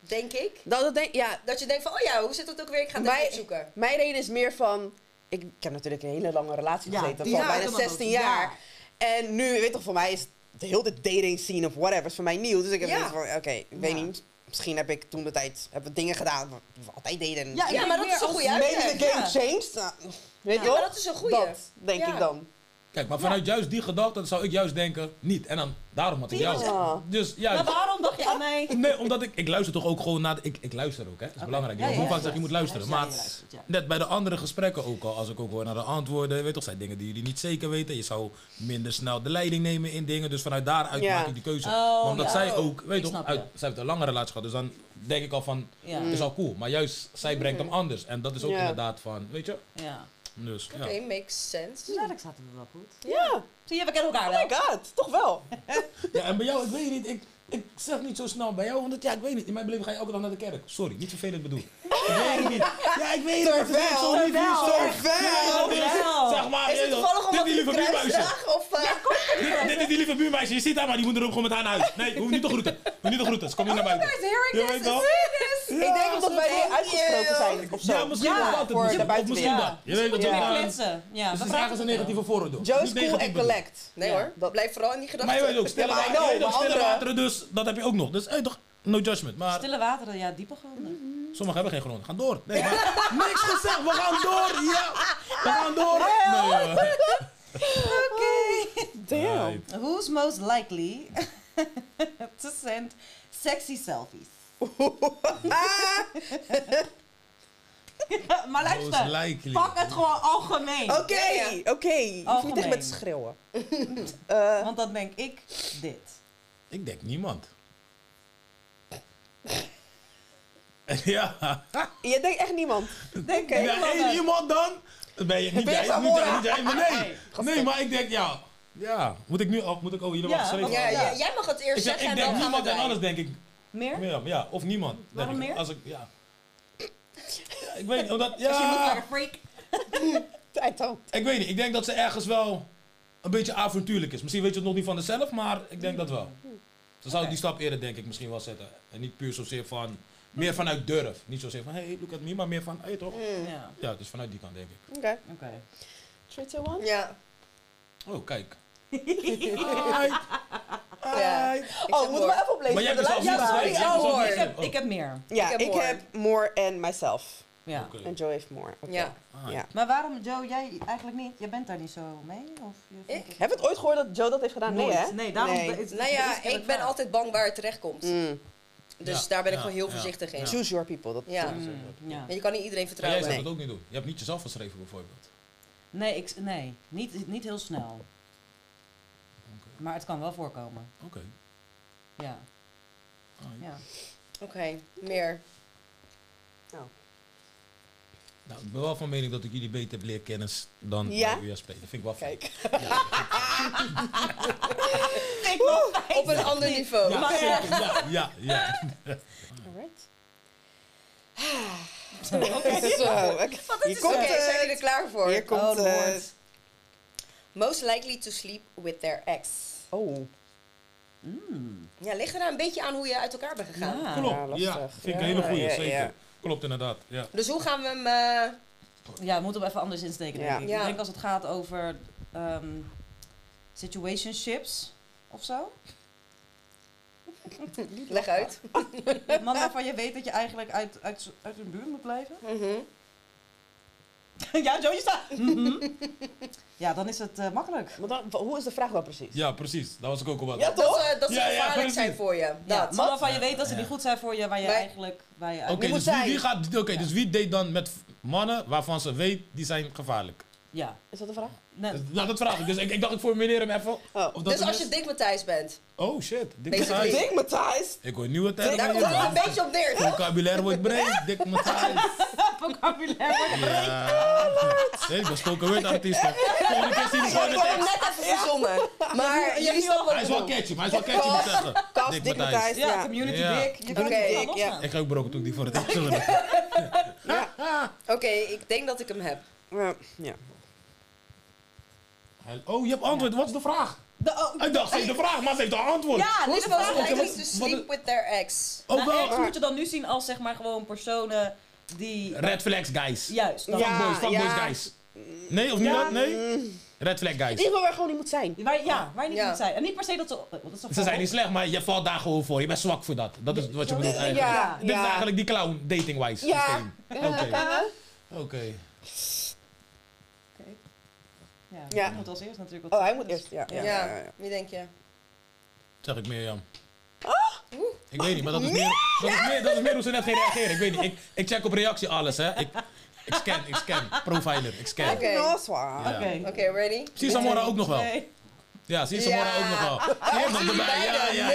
B: denk ik.
D: Dat, dat denk, ja,
B: Dat je denkt van, oh ja, hoe zit dat ook weer? Ik ga het
D: Wij-
B: even opzoeken.
D: mijn reden is meer van... Ik, ik heb natuurlijk een hele lange relatie
C: Ja,
D: gezeten.
C: die
D: Van
C: ja,
D: bijna
C: helemaal
D: 16
C: dood.
D: jaar.
C: Ja.
D: En nu, weet toch, voor mij is de hele dating scene of whatever is voor mij nieuw. Dus ik heb
B: Ja.
D: zoiets van, oké, ik weet
C: Ja.
D: niet. Misschien heb ik toen de tijd heb ik dingen gedaan wat we altijd deden.
C: Ja,
D: Misschien
B: Ja, maar dat is een goede
D: Maybe
B: uitleg.
D: the game
C: ja.
D: changed. Nou, weet je
B: Ja,
D: wel?
B: maar dat is een goeie.
D: Dat, denk
B: Ja.
D: ik dan.
A: Kijk, maar vanuit juist die gedachte zou ik juist denken, niet. En dan, daarom had ik jou.
D: Ja.
A: Dus
C: Maar
A: ja,
C: Nou, waarom dacht je aan mij?
A: nee, omdat ik, ik luister toch ook gewoon naar, de- ik, ik luister ook hè, dat is belangrijk.
C: Ja,
A: Hoe
C: ja,
A: vaak
C: ja.
A: zeg je, je moet luisteren,
C: Ja,
A: maar
C: je luistert, ja.
A: net bij de andere gesprekken ook al, als ik ook hoor naar de antwoorden, weet toch, zijn dingen die jullie niet zeker weten. Je zou minder snel de leiding nemen in dingen, dus vanuit daaruit
D: Ja.
A: maak ik die keuze.
C: Oh,
A: Maar omdat
C: ja.
A: zij ook, weet
C: Ik
A: toch,
C: snap
A: uit,
C: je.
A: zij heeft een lange relatie gehad, dus dan denk ik al van,
C: Ja.
A: het is al cool. Maar juist, zij brengt hem anders en dat is ook
D: Ja.
A: inderdaad van, weet je,
C: Ja.
A: dus
B: Oké,
A: ja.
B: makes sense.
C: Dus eigenlijk zaten we wel goed.
D: Ja,
C: Zie je, we kennen elkaar
D: oh
C: wel.
D: my god, toch wel.
A: Ja, en bij jou, ik weet niet, ik, ik zeg niet zo snel bij jou, want het- ja, ik weet niet, in mijn beleving ga je elke dag naar de kerk. Sorry, niet vervelend bedoeld. Ik weet het niet. Ja, ik weet het, het is echt zo lief,
C: Terwijl,
A: zo
D: terwijl,
A: Ja, dit is-
C: terwijl.
A: Zeg maar,
B: Is het
A: joh,
B: toevallig
A: dit
B: omdat
A: is
B: ik
A: die lieve
B: een
A: buurmeisje.
B: kruisdraag? Of, eh,
A: Dit, dit is die lieve buurmeisje, je ziet haar maar, die moet er ook gewoon met haar naar huis. Nee, hoef niet te groeten, hoef niet te groeten, ze komt niet naar buiten. Je weet wel. Ja,
D: ik denk omdat wij
B: denk
D: niet uitgesproken
B: je.
D: zijn of zo.
A: Ja, misschien
C: Ja,
A: wel dat,
D: voor de
A: misschien- of
D: buitenwereld.
A: misschien
C: Ja.
A: dat. Je weet dat,
D: Ja.
A: ja.
C: Ja.
A: ja.
C: Kletsen. Ja,
A: Dus
C: we
A: het is ergens
C: vragen
A: een
C: het wel.
A: negatieve vooroordeel.
D: Joe
A: Niet
D: is cool
A: negatief
D: en
A: bedoeld.
D: collect.
B: Nee
C: Ja.
B: hoor, dat blijft vooral in die
A: Maar
B: gedachten.
A: je weet ook, stille
D: Ja, maar I
A: wateren, je
D: know,
A: weet ook,
D: maar
A: stille
D: anderen-
A: wateren, dus dat heb je ook nog. Dus eh, toch, no judgment. Maar
C: Stille wateren, ja, diepe gronden.
A: Sommigen hebben geen grond. Gaan door. Nee, maar niks gezegd. We gaan door. Ja. We gaan door.
C: Oké.
D: Damn.
A: Nee,
C: Who's most likely to send sexy selfies? maar
A: Most
C: luister,
A: likely.
C: pak het gewoon algemeen.
D: Oké,
B: Ja, ja.
D: oké. Je hoeft niet echt
C: Algemeen.
D: met te schreeuwen. Eh,
C: Want dan denk ik dit.
A: Ik denk niemand. ja.
D: je denkt echt niemand.
C: Denk
D: Oké.
C: ik. eh,
A: ja één iemand dan? Dan Ben je niet
D: Ben je
A: jij,
D: van
A: niet jij,
D: Mora?
A: niet jij. Maar nee.
C: Nee,
A: Nee, maar ik denk ja. Ja. Moet ik nu af? Moet ik oh, jullie
C: Ja,
A: wachten?
C: want-
B: Ja,
A: Ja,
B: ja, jij mag het
A: Ik,
B: eerst
A: zeg,
B: zeggen
A: ik
B: en
A: denk
B: dan gaan
A: niemand
B: we
A: en
B: erbij.
A: anders denk ik
C: Meer?
A: Mirjam, ja, of niemand. denk
C: Waarom
A: ik.
C: meer?
A: Als ik, ja. Ja, ik weet niet, omdat, ja.
C: Dus je moet naar een freak.
D: Tijd dan.
A: Ik weet niet, ik denk dat ze ergens wel een beetje avontuurlijk is. Misschien weet je het nog niet van zichzelf, maar ik denk dat wel. Ze zou
C: Oké.
A: die stap eerder denk ik misschien wel zetten. En niet puur zozeer van, meer vanuit durf. Niet zozeer van, hey, look at me, maar meer van, hey toch?
D: Mm.
C: Ja,
A: Ja, dus vanuit die kant denk ik.
D: Oké.
C: oké.
D: 3, 2, 1.
B: Ja.
A: Oh, kijk. Aight.
B: Ja.
A: Aight.
B: Ik
D: Oh,
B: zeg
D: moeten
B: hoor.
D: we even oplezen
A: Maar jij
D: voor
A: hebt
D: de
A: dus al
D: luisteraars?
A: niet
B: sorry,
A: gezegd.
B: oh,
A: Je
B: hoor.
A: hebt
C: Ik
A: zelf
C: heb,
A: niet
C: ik
A: gezegd.
C: heb meer.
D: Ja,
B: Ik heb
D: ik
B: more.
D: heb more en myself.
C: Ja.
A: Oh, oké.
D: En Joe heeft more. Oké.
B: Ja.
A: Ah,
D: Ja.
C: Maar waarom, Joe, jij eigenlijk niet? Je bent daar niet zo mee? Of je vindt
B: Ik?
C: het-
D: Heb je het ooit gehoord dat Joe dat heeft gedaan? Nou, Nee,
C: Nooit.
D: hè?
C: Nee, daarom...
D: Nee.
C: het is-
B: Nou
C: het is
B: ja,
C: eerlijk
B: ik ben
C: waar.
B: altijd bang waar het terecht komt.
D: Mm.
B: Dus
A: Ja,
B: daar ben ik
A: ja,
B: gewoon heel
A: ja,
B: voorzichtig in.
A: ja.
B: Ja.
D: Choose your people. Dat
A: Ja, zeg maar.
C: Ja.
B: En je kan niet iedereen
A: Maar jij
B: vertrouwen.
A: zou
D: Nee.
A: het ook niet doen. Je hebt niet jezelf geschreven bijvoorbeeld.
C: Nee, ik, nee niet, niet heel snel. Maar het kan wel voorkomen.
A: Oké.
C: Ja. ja.
B: Oké, meer.
D: Oh,
A: Nou, ik ben wel van mening dat ik jullie beter heb leren kennen dan
D: Ja?
A: eh, USP. Dat vind ik wel fijn.
B: Kijk,
C: Ik was vijf.
B: op een ander niveau.
A: Ja,
C: Maar, eh,
A: zeker. ja, ja, ja.
D: Alright.
B: Zo.
C: Wat is
D: Hier
C: het?
D: komt
B: Oké,
D: het.
B: zijn jullie er klaar voor?
D: Hier komt
C: Oh,
D: eh,
C: Lord.
B: Most likely to sleep with their ex.
D: Oh,
B: Ja, ligt er nou een beetje aan hoe je uit elkaar bent gegaan.
C: Mm, Ja.
A: Klopt,
D: Ah, lastig.
A: ja. Vind ik
D: Ja,
A: een hele goeie,
D: ja, ja.
A: zeker. Klopt inderdaad, ja.
B: Dus hoe gaan we hem... eh,
C: Ja, we moeten hem even anders insteken,
D: Ja.
C: denk ik.
B: Ja.
C: Ik denk als het gaat over ehm, situationships of zo.
B: leg uit.
C: Mannen waarvan je weet dat je eigenlijk uit, uit, uit hun buurt moet blijven.
B: Mhm.
C: ja, Joe, je staat. Mhm. Ja, dan is het eh, makkelijk.
D: maar dan, hoe is de vraag wel precies?
A: Ja, precies. Dat was ik ook al wat.
D: Ja,
B: Dat,
D: toch?
B: eh, dat ze
A: Ja, ja,
B: gevaarlijk
A: precies.
B: zijn voor je.
C: Ja,
B: Dat.
C: mannen waarvan je weet dat ze
A: Ja.
C: niet goed zijn voor je, waar je
B: Maar-
C: eigenlijk... Waar je
A: Oké,
C: eigenlijk-
D: moet
A: dus, wie,
D: zij?
A: wie gaat, oké, dus wie deed dan met v- mannen waarvan ze weet, die zijn gevaarlijk?
C: Ja.
D: Is dat de vraag?
C: Nee,
A: Dus- Nou, dat vraag ik. Dus ik, ik dacht, ik formuleer hem even.
D: Oh.
A: Of dat
B: Dus
A: hem
B: als
A: is.
B: je dik Matthijs bent.
A: Oh, shit. Dik
B: Basically.
A: Matthijs.
D: Ding, Matthijs.
A: Ik hoor nieuwe termen.
B: Daar
A: hier,
B: komt het
A: man.
B: een beetje op neer.
A: Vocabulaire wordt breed. Dik Matthijs.
C: vocabulaire.
A: Ja. Nee, ik ben spoken word artiest. hè. Volgende keer zie je gewoon
B: Ik
A: de
B: heb hem
A: tekst.
B: net even verzonnen. Maar
C: je hebt
B: jullie
C: nu
B: snappen wat
A: Hij
B: ik
A: is wel
B: bedoel.
A: catchy, maar hij is wel catchy met zeggen.
D: Kast, Dik Matthijs.
C: Ja,
D: Ja.
C: community
A: Ja.
C: big. Je kan
B: Community
C: het wel
D: big,
C: losgaan.
A: Ik ga ook brokken toen ik die voor het eerst hoorde.
B: Oké, ik denk dat ik hem heb.
D: Ja. ja.
A: Hij- Oh, je hebt antwoord. Wat is de vraag?
C: De- oh,
A: Ik dacht, ze heeft de vraag, maar ze heeft een antwoord.
C: Ja,
B: Who's
C: dit
B: most
C: was
B: likely
A: eigenlijk-
B: to
A: wat-
B: sleep with their ex?
A: Ook
C: Nou,
A: wel.
C: ex moet je dan nu zien als zeg maar gewoon personen die...
A: Red flags, guys.
C: Juist. Dan,
D: Ja.
A: Fuckboys, fuckboys,
D: ja.
A: guys. Nee, of niet?
D: Ja.
A: dat? Nee? Red flag,
D: In
A: guys.
D: ieder geval waar gewoon niet moet zijn.
C: Waar, ja, waar je niet
B: Ja.
C: moet zijn. En niet per se dat ze... want Dat is
A: Ze zijn niet slecht, maar je valt daar gewoon voor. Je bent zwak voor dat. Dat is wat je bedoelt eigenlijk.
D: Ja,
A: Dit is
D: ja.
A: eigenlijk die clown, dating-wise.
D: Ja.
A: systeem. Oké. Oké.
C: Ja,
D: Ja.
C: hij moet als eerst natuurlijk. wat
D: Oh, hij
C: zeggen,
D: moet
C: dus-
D: eerst.
B: Ja,
D: Ja. ja, ja, ja.
B: wie denk je?
A: Zeg ik Mirjam.
D: Oh.
A: Ik weet niet, maar dat is meer, dat is meer, dat is meer hoe ze net ging reageren. Ik weet niet. Ik, ik check op reactie alles, hè. Ik, ik scan, ik scan. Profiler, ik scan.
B: Oké.
D: Nou, zwaar.
A: Ja.
C: Oké.
B: Oké, ready?
A: Zie Samora ook nog wel.
C: Nee.
A: Ja, zie Samora
B: Ja.
A: ook nog wel. Die heeft nog erbij. Ja, ja, ja.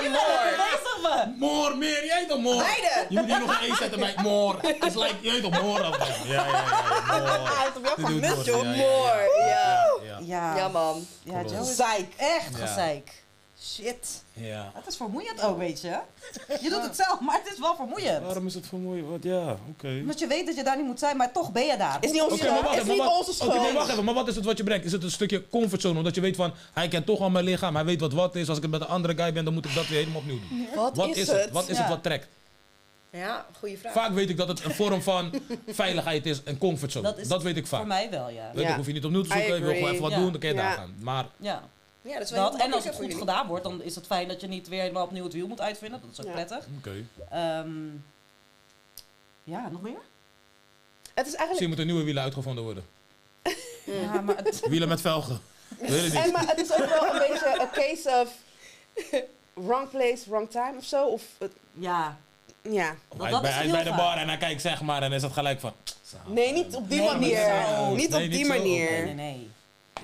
B: Meer en
C: Waar
B: more.
C: is dat we?
A: Moor, meer, jij toch moor?
B: Beide.
A: Je moet hier nog een E zetten bij moor. Het is like, jij toch moor af. Ja, ja, ja,
D: Hij
A: moor.
D: heeft op jou
A: Dit doet moord,
D: gemist,
A: ja,
D: joh.
A: ja.
B: More, ja.
A: Ja,
C: Ja.
B: Ja, man.
C: Ja, Joe is
D: Zeik.
C: echt
A: Ja.
C: gezeik. Shit.
A: ja.
C: Dat is vermoeiend ook, weet je. Je doet het zelf, maar het is wel vermoeiend.
A: is het voor mooi? Wat, ja, oké.
C: Omdat je weet dat je daar niet moet zijn, maar toch ben je daar.
D: Is niet onze
A: Oké, maar
D: schuld.
A: wacht
D: Is
A: even,
D: niet
A: maar
D: onze
A: wacht-
D: schuld.
A: oké, maar wacht even, maar wat is het wat je brengt? Is het een stukje comfortzone? Omdat je weet van, hij kent toch al mijn lichaam, hij weet wat wat is. Als ik het met een andere guy ben, dan moet ik dat weer helemaal opnieuw doen.
D: Wat,
A: Wat is het? Wat is het
C: Ja.
A: wat trekt?
B: Ja, goede vraag.
A: Vaak weet ik dat het een vorm van veiligheid is, een comfortzone.
C: Dat
A: Dat,
C: is
A: weet ik vaak.
C: Voor mij wel, ja.
A: Weet
D: Ja.
A: ik, hoef je niet opnieuw te
D: I
A: zoeken, je wil gewoon
D: agree.
A: even wat
C: Ja.
A: doen, dan kan je daar
D: Ja.
A: gaan. Maar
C: ja.
B: Ja, dat is wel
C: Dat,
B: heel
C: en als
B: makkelijk voor
C: het goed
B: jullie.
C: gedaan wordt, dan is het fijn dat je niet weer helemaal opnieuw het wiel moet uitvinden. Dat is ook
D: Ja.
C: prettig.
A: Oké.
C: Ehm, ja, nog meer?
D: Het is eigenlijk...
A: Misschien moeten nieuwe wielen uitgevonden worden.
C: Ja, maar het-
A: Wielen met velgen. Weet het
D: En,
A: niet.
D: maar het is ook wel een beetje een case of... Wrong place, wrong time of zo. Of... het-
C: ja.
D: Ja.
A: Of Hij is
C: dat
A: bij,
C: is
A: hij is
C: heel
A: bij de
C: vaak.
A: bar en hij kijkt zeg maar en is het gelijk van... "Samen."
D: Nee, niet op die
C: Nee,
D: manier.
C: niet zo.
D: Niet
A: Nee,
D: op
A: niet
D: die
A: zo.
C: Nee, nee,
D: manier.
C: nee.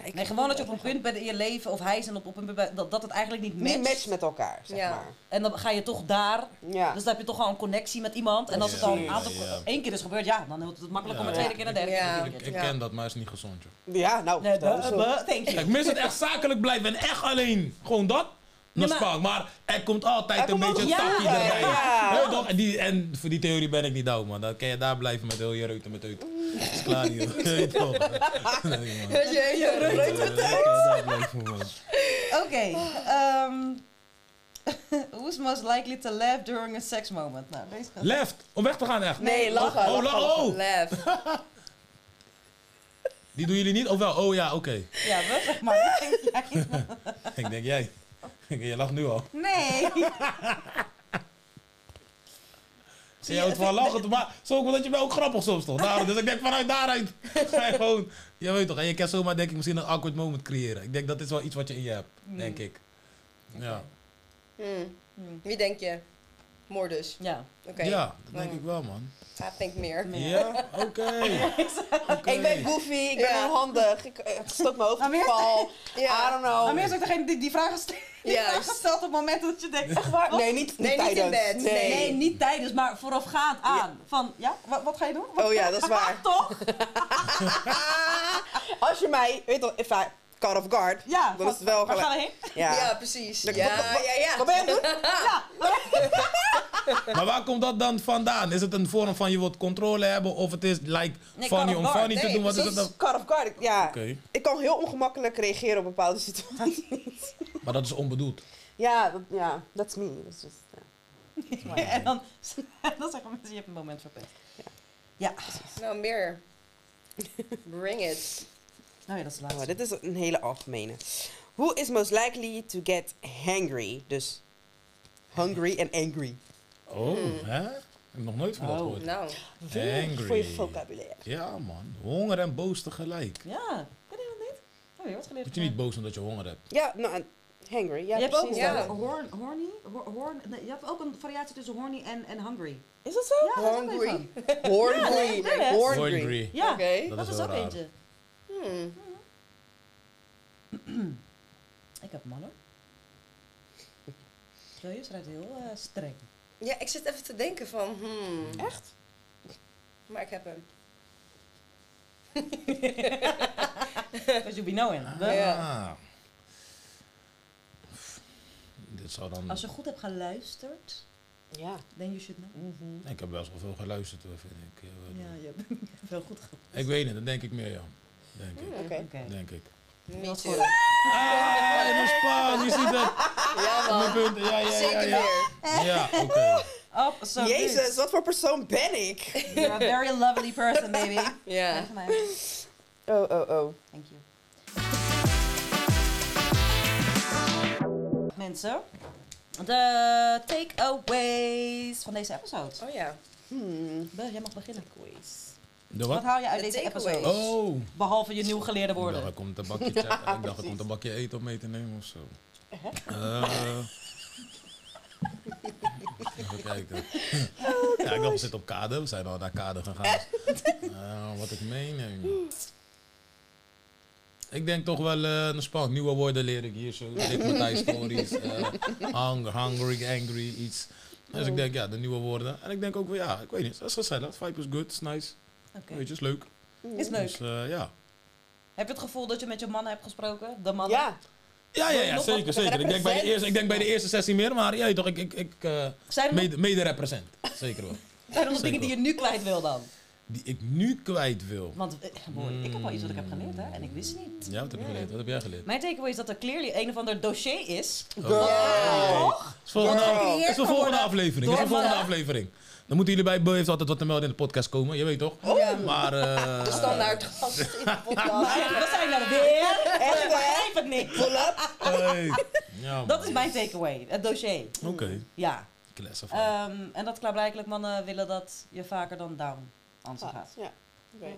D: Ja, ik-
C: Nee, gewoon dat je op een punt bent in je leven of hij is en op, op een punt bij- dat, dat het eigenlijk niet matcht.
D: Niet match met elkaar, zeg
B: Ja.
D: maar.
C: En dan ga je toch daar.
D: Ja.
C: Dus dan heb je toch al een connectie met iemand. En als het dan een
A: Precies.
C: aantal
A: Ja.
C: één keer is gebeurd, ja, dan wordt het makkelijk om een
A: Ja.
C: tweede keer en een derde
B: Ja.
C: keer.
A: Ik,
C: te doen.
A: ik
B: Ja.
A: ken dat, maar is niet gezond, joh.
D: Ja, nou,
C: Nee,
D: dat
C: buh,
D: is zo.
C: buh, thank you.
A: Kijk, mensen het echt zakelijk blijven en echt alleen. Gewoon dat. Dan
C: Ja, maar-
A: spang. Maar er komt altijd
D: Er
A: een
D: komt
A: beetje
C: altijd-
A: takkie
C: Ja,
A: erbij.
D: ja.
A: Weet je toch? En, die, en voor die theorie ben ik niet oud, man. Dan kan je daar blijven met heel je reuten met uit. Is klaar, joh. Weet je toch? Nee, man.
B: Ja, ja, ja.
A: Dan kan je daar blijven, man.
C: Oké. ehm, who's most likely to laugh during a sex moment? Nou, deze gaat.
A: Left. Om weg te gaan, echt.
D: Nee, lachen.
A: Oh, la- oh.
B: Lef.
A: Die doen jullie niet? Of wel? Oh ja, oké.
C: Ja, we zeg maar. Denk jij?
A: Ik denk jij. Je lacht nu al.
C: Nee.
A: Zie je houdt van lachen, maar zo ook omdat je bent ook grappig soms toch? Daarom, dus ik denk vanuit daaruit ga je gewoon, je weet toch, en je kan zomaar denk ik misschien een awkward moment creëren. Ik denk dat is wel iets wat je in je hebt, denk ik. Ja.
B: Hm. Wie denk je? More dus.
C: Ja.
B: Oké,
A: Ja, dat denk
B: Oh.
A: ik wel, man.
B: Gaat denk meer.
C: Ja.
A: Ja? Oké. Oké.
D: Ik ben goofy, ik ben
B: Ja.
D: onhandig, ik eh, stoot mijn hoofd
C: Maar
D: op de
C: meer-
D: val. I
B: Ja.
D: don't know.
C: Maar meer is ook degene die die vragen stelt. die
B: Juist.
C: vragen stelt op het moment dat je denkt, echt
D: Waar-
C: waar?
D: Nee, niet, niet
B: Nee, niet in
D: tijdens.
B: bed,
C: Nee,
B: nee.
C: niet tijdens, maar voorafgaand aan. Van, ja, wat, wat ga je doen? Wat-
D: Oh ja, dat is waar.
C: Toch?
D: Als je mij, weet je, if I caught off guard,
C: Ja.
D: dan is het wel
C: Waar gaan
D: gelijk.
C: we heen?
D: Ja.
B: Ja, precies. Ja,
D: Dan- wat-
B: ja,
D: wat-
B: ja.
D: Wat ben je aan het doen?
C: Ja.
A: Maar waar komt dat dan vandaan? Is het een vorm van je wilt controle hebben of het is like funny
C: Nee, kan
A: om
C: ook waar.
A: funny te
B: Nee,
A: doen? Wat is het
B: precies.
A: dan?
D: Caught off guard, ik- ja.
A: Oké.
D: Ik kan heel ongemakkelijk reageren op bepaalde situaties.
A: Maar dat is onbedoeld.
D: ja, dat, ja, that's me. Dat is just, ja.
C: en dan, dan zeggen mensen, je hebt een moment verpest. Ja.
B: Nou, meer. Bring it.
C: Nou ja, dat is de
D: Oh,
C: laatste.
D: dit is een hele algemene. Who is most likely to get hangry? Dus hungry en angry.
A: Oh, hè? Ik heb nog nooit van dat
C: Oh.
A: gehoord.
B: Nou,
A: Angry.
D: Voor je vocabulaire.
A: Ja, man. Honger en boos tegelijk.
C: Ja, ken je dat niet? Oh, je wat geleerd.
A: Moet je niet boos omdat je honger hebt.
D: Ja, nou, en hangry. Ja,
C: je hebt ook
D: precies.
B: ja.
C: een horn, horny, hor- horn, nee, je hebt ook een variatie tussen horny en, en hungry.
D: Is dat zo?
C: Ja, dat is ook
B: Hungry.
C: een van.
D: Hangry.
C: Ja, nee,
D: hangry.
A: Hungry.
C: Ja,
B: Oké.
C: dat,
A: Dat is
C: is
A: wel
C: ook
A: raar.
C: eentje.
B: hmm.
C: Ik heb mannen. Zo, je schrijft heel eh, streng.
B: Ja, ik zit even te denken van, hmm,
D: Echt?
B: maar ik heb hem.
C: Because you be knowing.
B: Ja.
A: Ah. Dit zou dan...
C: Als je goed hebt geluisterd,
D: Ja.
C: then you should know.
A: Ik heb best wel veel geluisterd hoor, vind ik. Ja,
C: Ja, je hebt je hebt wel goed geluisterd.
A: Ik weet het, dat denk ik meer, ja. Denk ik.
D: Oké.
C: Oké.
A: Denk ik.
B: Me
C: Dat is
B: too.
C: goed.
A: Ah, in de Spaan, je ziet het.
B: Ja
A: Mijn
B: man,
A: punt. Ja, ja, ja.
B: zeker
A: Ja,
B: weer.
A: ja oké.
C: Op, zo,
D: Jezus, wat voor persoon ben ik?
C: dude. Oh, You're a very lovely person, baby.
B: Ja.
C: Tegen mij.
D: Oh, oh, oh.
C: Thank you. Mensen, de takeaways van deze episode.
B: Oh ja.
D: Hmm.
C: Bel, jij mag beginnen.
A: De
C: Wat
A: wat?
C: hou je uit
B: De
C: deze
B: takeaways.
C: episode?
A: Oh.
C: Behalve je nieuw geleerde
A: Ik
C: woorden.
A: dacht, ik komt een bakje checken. ik dacht, ik komt een bakje eten om mee te nemen of zo. Eh. even kijken. ja, ik dacht, we zitten op kade. We zijn al naar kade gegaan. Eh, wat ik meeneem. Ik denk toch wel eh een span. Nieuwe woorden leer ik hier zo. Dick Matthijs stories. eh, hung, hungry, angry, iets. Dus ik denk, ja, de nieuwe woorden. En ik denk ook wel, ja, ik weet niet. Het is gezellig. Het vibe is good. Het is nice.
C: Oké.
A: Weet je, het is leuk.
C: Is leuk.
A: Dus eh, ja.
C: Heb je het gevoel dat je met je mannen hebt gesproken? De mannen?
D: Ja.
A: Ja, ja, ja
C: Nog wat
A: zeker, zeker. Ik denk, bij de
D: represent?
A: eerste, ik denk bij de eerste sessie meer, maar ja, toch, ik, ik, ik eh,
C: Zijn er nog,
A: mede, mede represent. Zeker wel.
C: zijn er nog
A: Zeker
C: dingen die je nu kwijt wil dan?
A: Die ik nu kwijt wil.
C: Want eh, mooi, ik heb al iets wat ik heb geleerd hè, en ik wist het niet.
A: Ja, wat heb je geleerd? Wat heb jij geleerd?
C: Mijn takeaway is dat er clearly een of ander dossier is.
A: Oh.
C: Toch?
A: Is volgende,
D: Wordt gecreëerd
A: is de volgende
C: geworden
A: aflevering. Is de
C: door
A: volgende
C: mannen.
A: aflevering. Dan moeten jullie bij Bo heeft altijd wat te melden in de podcast komen, je weet toch?
C: Oh,
A: Maar eh,
B: De standaard gast in de podcast.
C: Ja, dat zijn er weer.
D: Ah. Echt,
C: Ik
D: hè?
C: begrijp het niet.
D: Pull up.
A: hey. Ja, man.
C: Dat is mijn takeaway, het dossier.
A: Oké,
C: Ja.
A: classified.
C: Ehm, en dat klaarblijkelijk mannen willen dat je vaker dan down aan
D: Ah.
C: ze gaat.
D: Ja. Oké.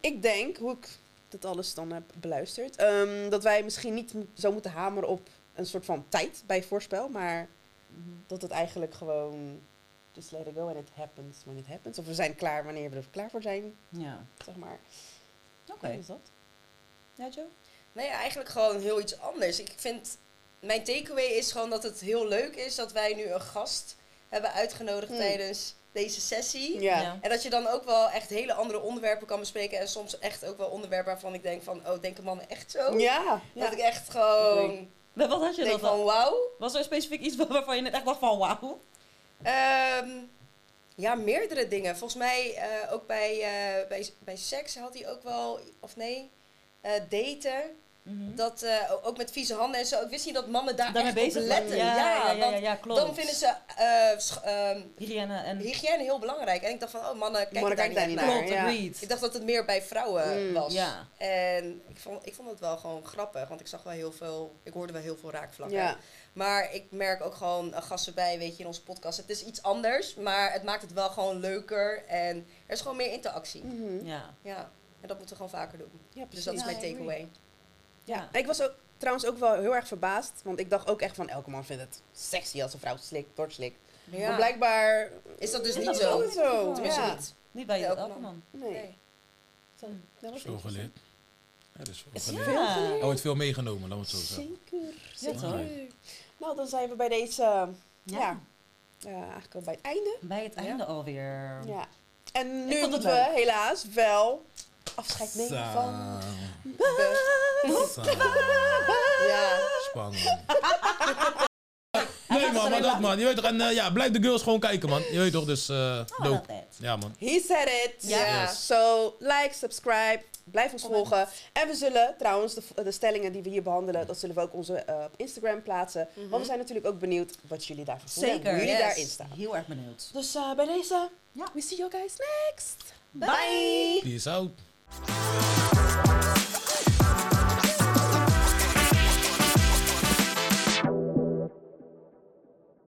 D: Ik denk, hoe ik dit alles dan heb beluisterd, ehm, dat wij misschien niet mo- zo moeten hameren op een soort van tijd bij voorspel, maar
B: Mhm.
D: dat het eigenlijk gewoon just let it go and it happens when it happens. Of we zijn klaar wanneer we er klaar voor zijn,
C: Ja.
D: zeg maar.
C: Oké.
D: Wat is dat?
C: Ja, Joe?
B: Nee, eigenlijk gewoon heel iets anders. Ik vind, mijn takeaway is gewoon dat het heel leuk is dat wij nu een gast hebben uitgenodigd
D: Mm.
B: tijdens deze sessie.
D: Ja.
B: En dat je dan ook wel echt hele andere onderwerpen kan bespreken. En soms echt ook wel onderwerpen waarvan ik denk van, oh, denken mannen echt zo?
D: Ja.
B: Dat
D: ja.
B: ik echt gewoon
C: Maar Wat had je
B: denk
C: dat dan?
B: van, wauw.
C: Was er specifiek iets wa- waarvan je net echt dacht van wauw?
B: Ehm, ja, meerdere dingen. Volgens mij eh, ook bij, eh, bij, bij seks had hij ook wel, of nee, eh, daten.
C: Mhm.
B: Dat, eh, o- ook met vieze handen en zo. Ik wist niet dat mannen daar
C: Daarmee
B: echt op
C: bezig
B: letten.
C: waren.
B: Ja,
C: ja, ja, ja,
B: want
C: ja, klopt.
B: Dan vinden ze eh, sch- ehm,
C: hygiëne en
B: hygiëne heel belangrijk. En ik dacht van, oh mannen, kijk daar niet
D: kijken daar
B: echt
D: niet
B: naar.
D: naar.
C: klopt,
D: ja.
C: agreed.
B: Ik dacht dat het meer bij vrouwen
D: Mm,
B: was.
C: ja.
B: En ik vond, ik vond het wel gewoon grappig. Want ik zag wel heel veel, ik hoorde wel heel veel raakvlakken.
D: Ja.
B: Maar ik merk ook gewoon eh, gasten bij, weet je, in onze podcast. Het is iets anders, maar het maakt het wel gewoon leuker. En er is gewoon meer interactie.
D: Mhm.
C: Ja.
B: Ja, en dat moeten we gewoon vaker doen.
D: Ja,
B: Dus dat is
D: precies.
B: mijn
C: Ja, I agree.
B: takeaway.
D: Ja. Ik was ook trouwens ook wel heel erg verbaasd, want ik dacht ook echt van elke man vindt het sexy als een vrouw slikt, doorslikt.
B: Ja.
D: Maar blijkbaar
B: Is dat dus
D: is
B: niet
D: dat
B: zo?
D: niet zo.
B: Tenminste
D: Ja.
B: niet.
C: Niet bij
B: Ja,
C: Judith
B: ook
C: Elkerman.
D: Nee.
B: Nee.
D: Dat was
A: Veel
D: interessant.
A: geleerd. Er is veel
C: Is
A: geleerd.
C: ja.
A: Er wordt veel meegenomen, laten we het zo zeggen.
D: Zeker.
C: Ja,
D: zeker.
A: toch?
D: Nou, dan zijn we bij deze, eh, ja, eh, eigenlijk al bij het einde.
C: Bij het einde alweer.
D: Ja. En
C: vond
D: nu
C: het
D: moeten we
C: leuk.
D: helaas wel afscheid nemen
A: Sa-
D: van...
A: sa-
D: Ja.
A: Spannend. Nee man, maar dat man. Je weet toch, en eh, ja, blijf de girls gewoon kijken man. Je weet toch, dus eh,
C: Oh,
A: dope.
C: dat is.
A: Ja man.
D: He said it.
C: Ja.
D: Ja.
A: Yes.
D: So, like, subscribe. Blijf ons volgen. En we zullen trouwens de, de stellingen die we hier behandelen, dat zullen we ook onze, eh, op Instagram plaatsen. Want we zijn natuurlijk ook benieuwd wat jullie daarvan vinden.
C: Mhm. Zeker,
D: Hoe jullie
B: yes.
D: daarin staan.
C: Heel erg benieuwd.
D: Dus eh, bij deze,
C: Ja.
D: we see you guys next.
C: Bye.
A: Peace out.
D: Bye.